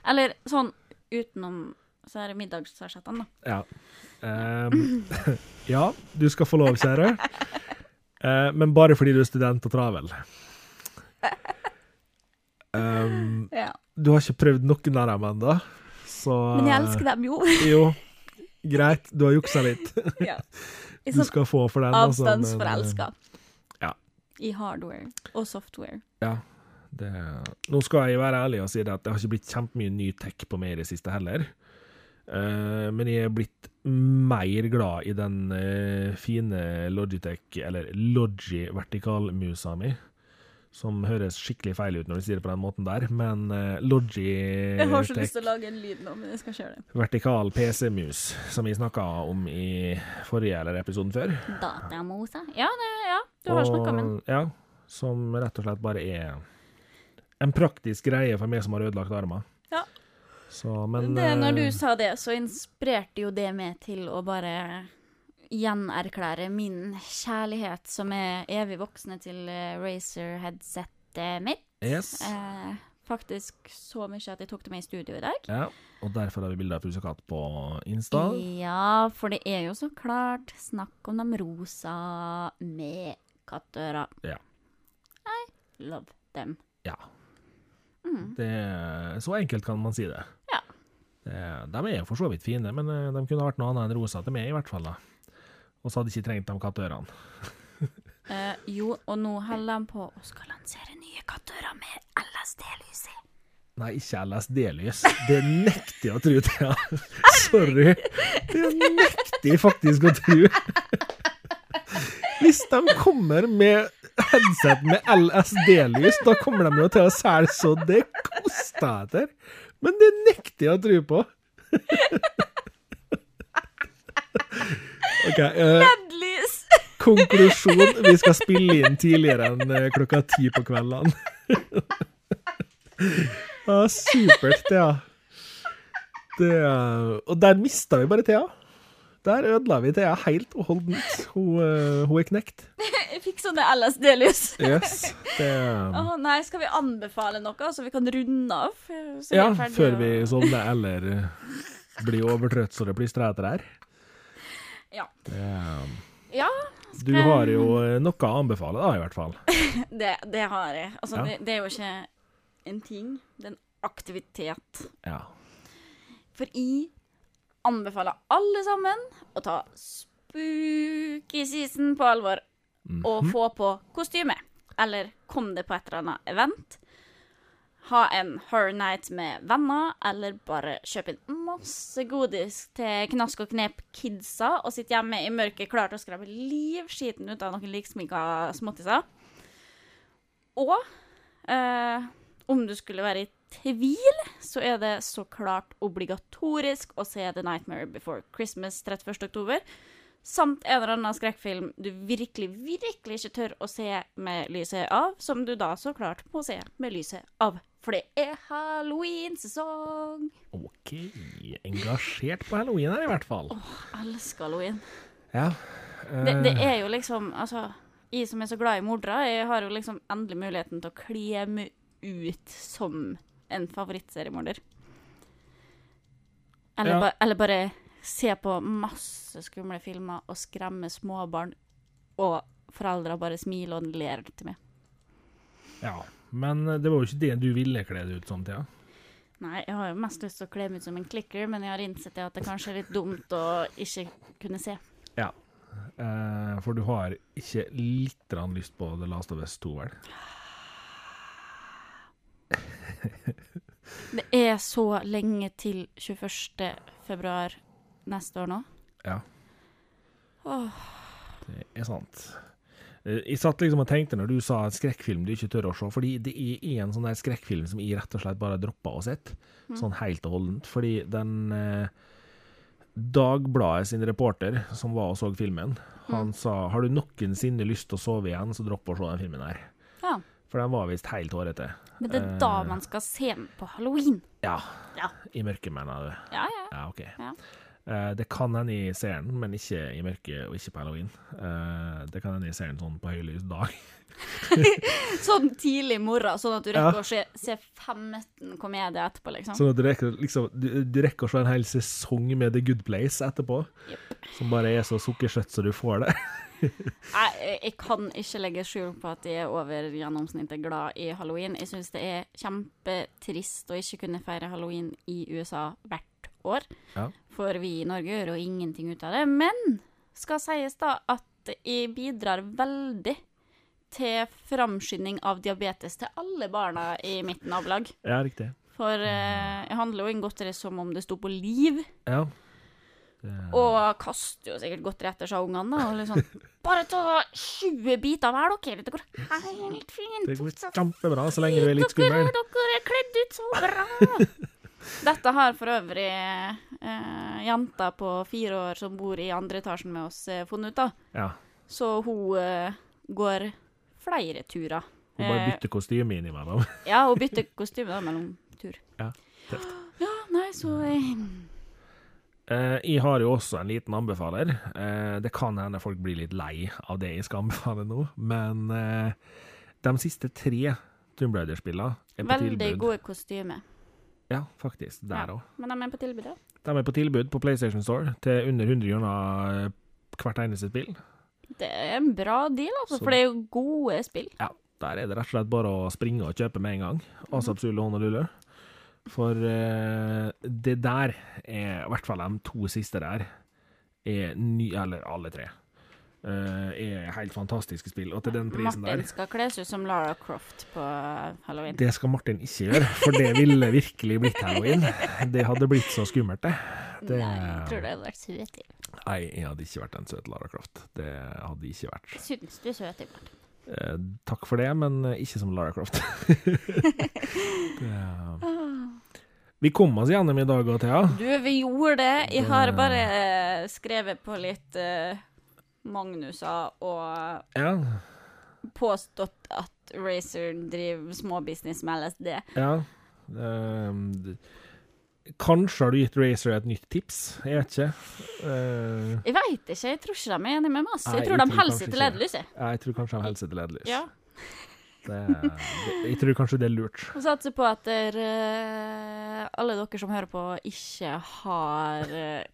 [SPEAKER 2] Eller sånn utenom så er det middagsasjettene, da.
[SPEAKER 1] Ja. Ehm, *laughs* ja, du skal få lov, kjære. Eh, men bare fordi du er student og travel. Ehm, du har ikke prøvd noen av dem ennå, så
[SPEAKER 2] Men jeg elsker dem jo.
[SPEAKER 1] Jo. greit, du har juksa litt.
[SPEAKER 2] *laughs* Ja. *laughs* I
[SPEAKER 1] Du
[SPEAKER 2] sånn
[SPEAKER 1] skal få for den. altså, men, eh,
[SPEAKER 2] avstandsforelska.
[SPEAKER 1] ja.
[SPEAKER 2] I hardware og software.
[SPEAKER 1] Ja. Det, nå skal jeg være ærlig og si det at det har ikke blitt kjempemye ny tech på meg i det siste heller. Eh, men jeg er blitt mer glad i den eh, fine Logitech, eller Logi-vertikalmusa mi, som høres skikkelig feil ut når du sier det på den måten der, men uh,
[SPEAKER 2] Jeg har så lyst
[SPEAKER 1] Logitech
[SPEAKER 2] til å lage en lyd nå, men jeg skal ikke gjøre det.
[SPEAKER 1] vertikal PC-mus, som jeg snakka om i forrige eller episoden før.
[SPEAKER 2] Datamosa. Ja, det, ja. du har snakka med den.
[SPEAKER 1] Og- Ja, som rett og slett bare er en praktisk greie for meg som har ødelagt armer.
[SPEAKER 2] Ja.
[SPEAKER 1] Så, men
[SPEAKER 2] det, når du
[SPEAKER 1] eh,
[SPEAKER 2] sa det, så inspirerte jo det meg til å bare gjenerklære min kjærlighet, som er evig voksende til Racer-headsetet mitt.
[SPEAKER 1] Yes.
[SPEAKER 2] Eh, faktisk så mye at jeg tok det med i studio i dag.
[SPEAKER 1] Ja, og derfor har vi bilde av Pusekatt på Insta.
[SPEAKER 2] Ja, for det er jo så klart snakk om de rosa med kattører.
[SPEAKER 1] Ja.
[SPEAKER 2] I love them.
[SPEAKER 1] ja.
[SPEAKER 2] Mm.
[SPEAKER 1] Det, så enkelt kan man si det.
[SPEAKER 2] Ja.
[SPEAKER 1] Det- De er jo for så vidt fine, men eh, de kunne vært noe annet enn rosa til meg, i hvert fall. da. Og så hadde jeg ikke trengt de kattørene.
[SPEAKER 2] Eh, jo, og nå holder de på å skal lansere nye kattører med LSD-lys i.
[SPEAKER 1] Nei, ikke LSD-lys. Det nekter jeg å tro, Thea. Sorry. Det nekter jeg faktisk å tro. Hvis de kommer med headset med LSD-lys, da kommer de jo til å selge så det koster etter. Men det nekter jeg å tro på. OK. eh,
[SPEAKER 2] Lys!
[SPEAKER 1] konklusjon. Vi skal spille inn tidligere enn eh, klokka ti på kveldene. *laughs* Ja, supert, Thea. Det, eh, og der mista vi bare Thea. Der ødela vi Thea helt og holdent. Hun, eh, hun er knekt.
[SPEAKER 2] *laughs* Jeg fikk sånne LSD-lys.
[SPEAKER 1] Yes. Det,
[SPEAKER 2] Å nei, skal vi anbefale noe, så vi kan runde av? Så
[SPEAKER 1] ja,
[SPEAKER 2] er ferdige
[SPEAKER 1] før
[SPEAKER 2] å-
[SPEAKER 1] vi sovner eller eh, blir overtrøtt så det plystrer etter her.
[SPEAKER 2] Ja.
[SPEAKER 1] Det- eh,
[SPEAKER 2] Ja,
[SPEAKER 1] Du har jo eh, noe å anbefale, da, i hvert fall.
[SPEAKER 2] det, det har jeg. Altså,
[SPEAKER 1] Ja.
[SPEAKER 2] det, det er jo ikke en ting, det er en aktivitet.
[SPEAKER 1] Ja.
[SPEAKER 2] For jeg anbefaler alle sammen å ta spooky season på alvor. Og få på kostyme. Eller kom det på et eller annet event. Ha en horror night med venner, eller bare kjøp inn masse godis til Knask og Knep-kidsa og sitte hjemme i mørket klar til å skrape livskiten ut av noen liksminka småttiser. Og eh, om du skulle være i tvil, så er det så klart obligatorisk å se The Nightmare Before Christmas 31. oktober. Samt en eller annen skrekkfilm du virkelig, virkelig ikke tør å se med lyset av, som du da så klart må se med lyset av. For det er halloween-sesong!
[SPEAKER 1] OK. Engasjert på halloween her, i hvert fall.
[SPEAKER 2] Elsker halloween.
[SPEAKER 1] Ja. Eh,
[SPEAKER 2] Det, det er jo liksom Altså, jeg som er så glad i mordere, jeg har jo liksom endelig muligheten til å kle meg ut som en favorittseriemorder. Eller,
[SPEAKER 1] Ja.
[SPEAKER 2] ba, eller bare se på masse skumle filmer og skremme småbarn, og foreldre bare smiler og ler til meg.
[SPEAKER 1] Ja, men det var jo ikke det du ville kle deg ut som, Thea.
[SPEAKER 2] Nei, jeg har jo mest lyst til å kle meg ut som en klikker, men jeg har innsett det at det kanskje er litt dumt å ikke kunne se.
[SPEAKER 1] Ja. Eh, for du har ikke litt grann lyst på The Last of Us 2, vel?
[SPEAKER 2] Det er så lenge til 21. februar neste år nå.
[SPEAKER 1] Ja.
[SPEAKER 2] Åh.
[SPEAKER 1] Det er sant. Eh, Jeg satt liksom og tenkte når du sa en skrekkfilm du ikke tør å se, fordi det er en sånn der skrekkfilm som jeg rett og slett bare droppa å sett,
[SPEAKER 2] Mm.
[SPEAKER 1] sånn helt og holdent. Fordi den eh, Dagbladet sin reporter som var og så filmen, han
[SPEAKER 2] Mm.
[SPEAKER 1] sa har du noensinne lyst til å sove igjen, så dropp å se den filmen her.
[SPEAKER 2] Ja.
[SPEAKER 1] For den var visst helt hårete.
[SPEAKER 2] Men det er
[SPEAKER 1] Eh.
[SPEAKER 2] da man skal se den på halloween.
[SPEAKER 1] Ja.
[SPEAKER 2] Ja.
[SPEAKER 1] I mørket, mener du.
[SPEAKER 2] Ja, ja.
[SPEAKER 1] Ja, OK.
[SPEAKER 2] Ja.
[SPEAKER 1] Eh, det kan hende jeg ser den, men ikke i mørket og ikke på halloween. Eh, det kan hende jeg ser den sånn på høylys dag.
[SPEAKER 2] Sånn tidlig i morgen, sånn at du
[SPEAKER 1] Ja.
[SPEAKER 2] rekker å se, se 15 komedier etterpå, liksom.
[SPEAKER 1] Sånn at du rekker, liksom, du, du rekker å se en hel sesong med The Good Place etterpå,
[SPEAKER 2] Jep.
[SPEAKER 1] som bare er så sukkersøtt så du får det. *laughs*
[SPEAKER 2] Jeg, jeg- jeg kan ikke legge skjul på at jeg er over gjennomsnittet glad i halloween. Jeg syns det er kjempetrist å ikke kunne feire halloween i USA hvert år.
[SPEAKER 1] Ja.
[SPEAKER 2] For vi i Norge gjør jo ingenting ut av det. Men skal sies da at jeg bidrar veldig til framskynding av diabetes til alle barna i mitt nabolag.
[SPEAKER 1] Ja, riktig.
[SPEAKER 2] For eh, jeg handler jo inn godteri som om det sto på liv,
[SPEAKER 1] Ja. Det-
[SPEAKER 2] og kaster jo sikkert godteri etter seg av ungene. da,
[SPEAKER 1] *laughs*
[SPEAKER 2] Og liksom Bare ta 20 biter av hver, dere. Det går helt fint.
[SPEAKER 1] Det går
[SPEAKER 2] Så
[SPEAKER 1] kjempebra så lenge du er litt skummel.
[SPEAKER 2] Dere, dere er kledd ut så bra! Dette har for øvrig eh, jenta på fire år som bor i andre etasjen med oss, eh, funnet ut, da.
[SPEAKER 1] Ja.
[SPEAKER 2] Så hun eh, går flere turer.
[SPEAKER 1] Hun bare
[SPEAKER 2] Eh,
[SPEAKER 1] bytter kostyme innimellom.
[SPEAKER 2] Ja, hun bytter kostyme da mellom tur.
[SPEAKER 1] Ja, tøft.
[SPEAKER 2] Ja, nei, så eh,
[SPEAKER 1] Eh, jeg har jo også en liten anbefaler. Eh, det kan hende folk blir litt lei av det jeg skal anbefale nå, men eh, de siste tre Tomb Raider-spillene er på
[SPEAKER 2] Veldig
[SPEAKER 1] tilbud.
[SPEAKER 2] gode kostymer.
[SPEAKER 1] Ja, faktisk. Der
[SPEAKER 2] Ja.
[SPEAKER 1] òg.
[SPEAKER 2] Men de er på tilbud, ja.
[SPEAKER 1] De er på tilbud på PlayStation Store til under 100 kroner eh, hvert eneste spill.
[SPEAKER 2] Det er en bra deal, altså,
[SPEAKER 1] Så-
[SPEAKER 2] for det er jo gode spill.
[SPEAKER 1] Ja, der er det rett og slett bare å springe og kjøpe med en gang. Asap Sule Honolulu. For eh, det der er i hvert fall de to siste der, er ny, eller alle tre, eh, er helt fantastiske spill. Og til den prisen
[SPEAKER 2] Martin
[SPEAKER 1] der
[SPEAKER 2] skal kles ut som Lara Croft på eh, halloween.
[SPEAKER 1] det skal Martin ikke gjøre, for det ville virkelig blitt
[SPEAKER 2] *laughs*
[SPEAKER 1] halloween. Det hadde blitt så skummelt, det. det-
[SPEAKER 2] Nei, jeg tror det hadde vært søt. Ivar.
[SPEAKER 1] Nei, jeg hadde ikke vært en søt Lara Croft. Det hadde jeg ikke vært.
[SPEAKER 2] Syns du er søt, Ivar?
[SPEAKER 1] Eh, takk for det, men eh, ikke som Lara Croft. *laughs* det, vi kom oss gjennom i dag òg, Thea.
[SPEAKER 2] Du, vi gjorde det. Jeg har
[SPEAKER 1] Det-
[SPEAKER 2] bare eh, skrevet på litt eh, Magnuser og
[SPEAKER 1] Ja,
[SPEAKER 2] påstått at Racer driver småbusiness med LSD.
[SPEAKER 1] ja. Ehm, d- kanskje har du gitt Razer et nytt tips, jeg vet ikke. Eh,
[SPEAKER 2] Jeg veit ikke, jeg tror ikke de er enig med meg. ass.
[SPEAKER 1] Nei,
[SPEAKER 2] Jeg tror
[SPEAKER 1] jeg
[SPEAKER 2] de
[SPEAKER 1] tror
[SPEAKER 2] holder
[SPEAKER 1] kanskje
[SPEAKER 2] seg til
[SPEAKER 1] ikke det.
[SPEAKER 2] leddlyset.
[SPEAKER 1] jeg tror kanskje han holder seg til leddlys.
[SPEAKER 2] Ja.
[SPEAKER 1] Det, det, jeg tror kanskje det er lurt.
[SPEAKER 2] Og satser på at dere, eh, alle dere som hører på, ikke har uh,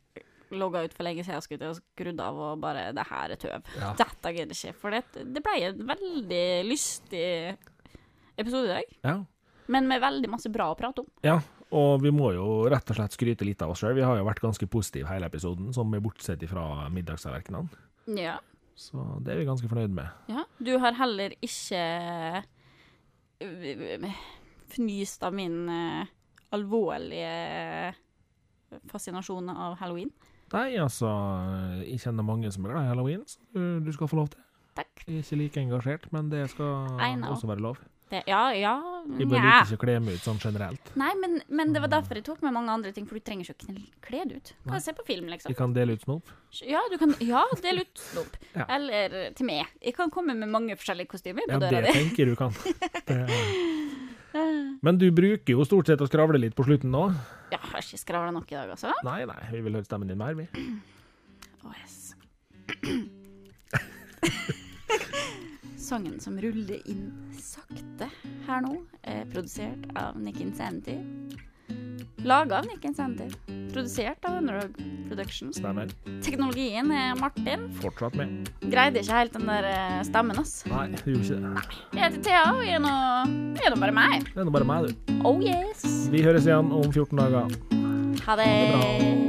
[SPEAKER 2] logga ut for lenge siden skulle jeg til å skrudd av og bare 'Det her er tøv'.
[SPEAKER 1] Ja.
[SPEAKER 2] Dette gidder jeg ikke. For det, det ble en veldig lystig episode i dag,
[SPEAKER 1] Ja.
[SPEAKER 2] men med veldig masse bra å prate om.
[SPEAKER 1] ja. Og vi må jo rett og slett skryte litt av oss sjøl. Vi har jo vært ganske positive hele episoden, som er bortsett fra middagstallerkenene.
[SPEAKER 2] Ja.
[SPEAKER 1] Så det er vi ganske fornøyd med.
[SPEAKER 2] Du har heller ikke eh, fnyst av min eh, alvorlige fascinasjon av halloween.
[SPEAKER 1] Nei, altså, jeg kjenner mange som er glad i halloween, så du, du skal få lov til det.
[SPEAKER 2] Takk.
[SPEAKER 1] Jeg er ikke like engasjert, men det skal
[SPEAKER 2] I know.
[SPEAKER 1] også være lov.
[SPEAKER 2] Det, ja, ja
[SPEAKER 1] Jeg bør
[SPEAKER 2] nja.
[SPEAKER 1] ikke kle meg ut sånn generelt.
[SPEAKER 2] Nei, men, men det var derfor jeg tok med mange andre ting, for du trenger ikke å kn- kle det ut. Bare
[SPEAKER 1] Mm. Nei.
[SPEAKER 2] se på film, liksom.
[SPEAKER 1] Jeg kan dele ut snop.
[SPEAKER 2] Ja, du kan, ja del ut snop.
[SPEAKER 1] *laughs* Ja.
[SPEAKER 2] Eller til meg. Jeg kan komme med mange forskjellige kostymer på
[SPEAKER 1] Ja, det
[SPEAKER 2] døra di.
[SPEAKER 1] tenker du kan. Det.
[SPEAKER 2] *laughs*
[SPEAKER 1] Men du bruker jo stort sett å skravle litt på slutten nå.
[SPEAKER 2] Jeg har ikke skravla nok i dag, altså.
[SPEAKER 1] Nei, nei, vi vil høre stemmen din mer, vi.
[SPEAKER 2] Å,
[SPEAKER 1] *laughs*
[SPEAKER 2] yes. Sangen som ruller inn sakte her nå, er produsert av Nick Insanity. Laga av Nick Insanity. Produsert av Underdog Productions.
[SPEAKER 1] Stemmer.
[SPEAKER 2] Teknologien er Martin.
[SPEAKER 1] Fortsatt med.
[SPEAKER 2] Greide ikke helt den der eh, stemmen, ass.
[SPEAKER 1] Nei, du gjorde ikke det.
[SPEAKER 2] Jeg heter Thea, og jeg er nå, jeg er nå bare meg.
[SPEAKER 1] Det er nå bare meg, du.
[SPEAKER 2] Oh yes.
[SPEAKER 1] Vi høres igjen om 14 dager.
[SPEAKER 2] Ha det.
[SPEAKER 1] Ha det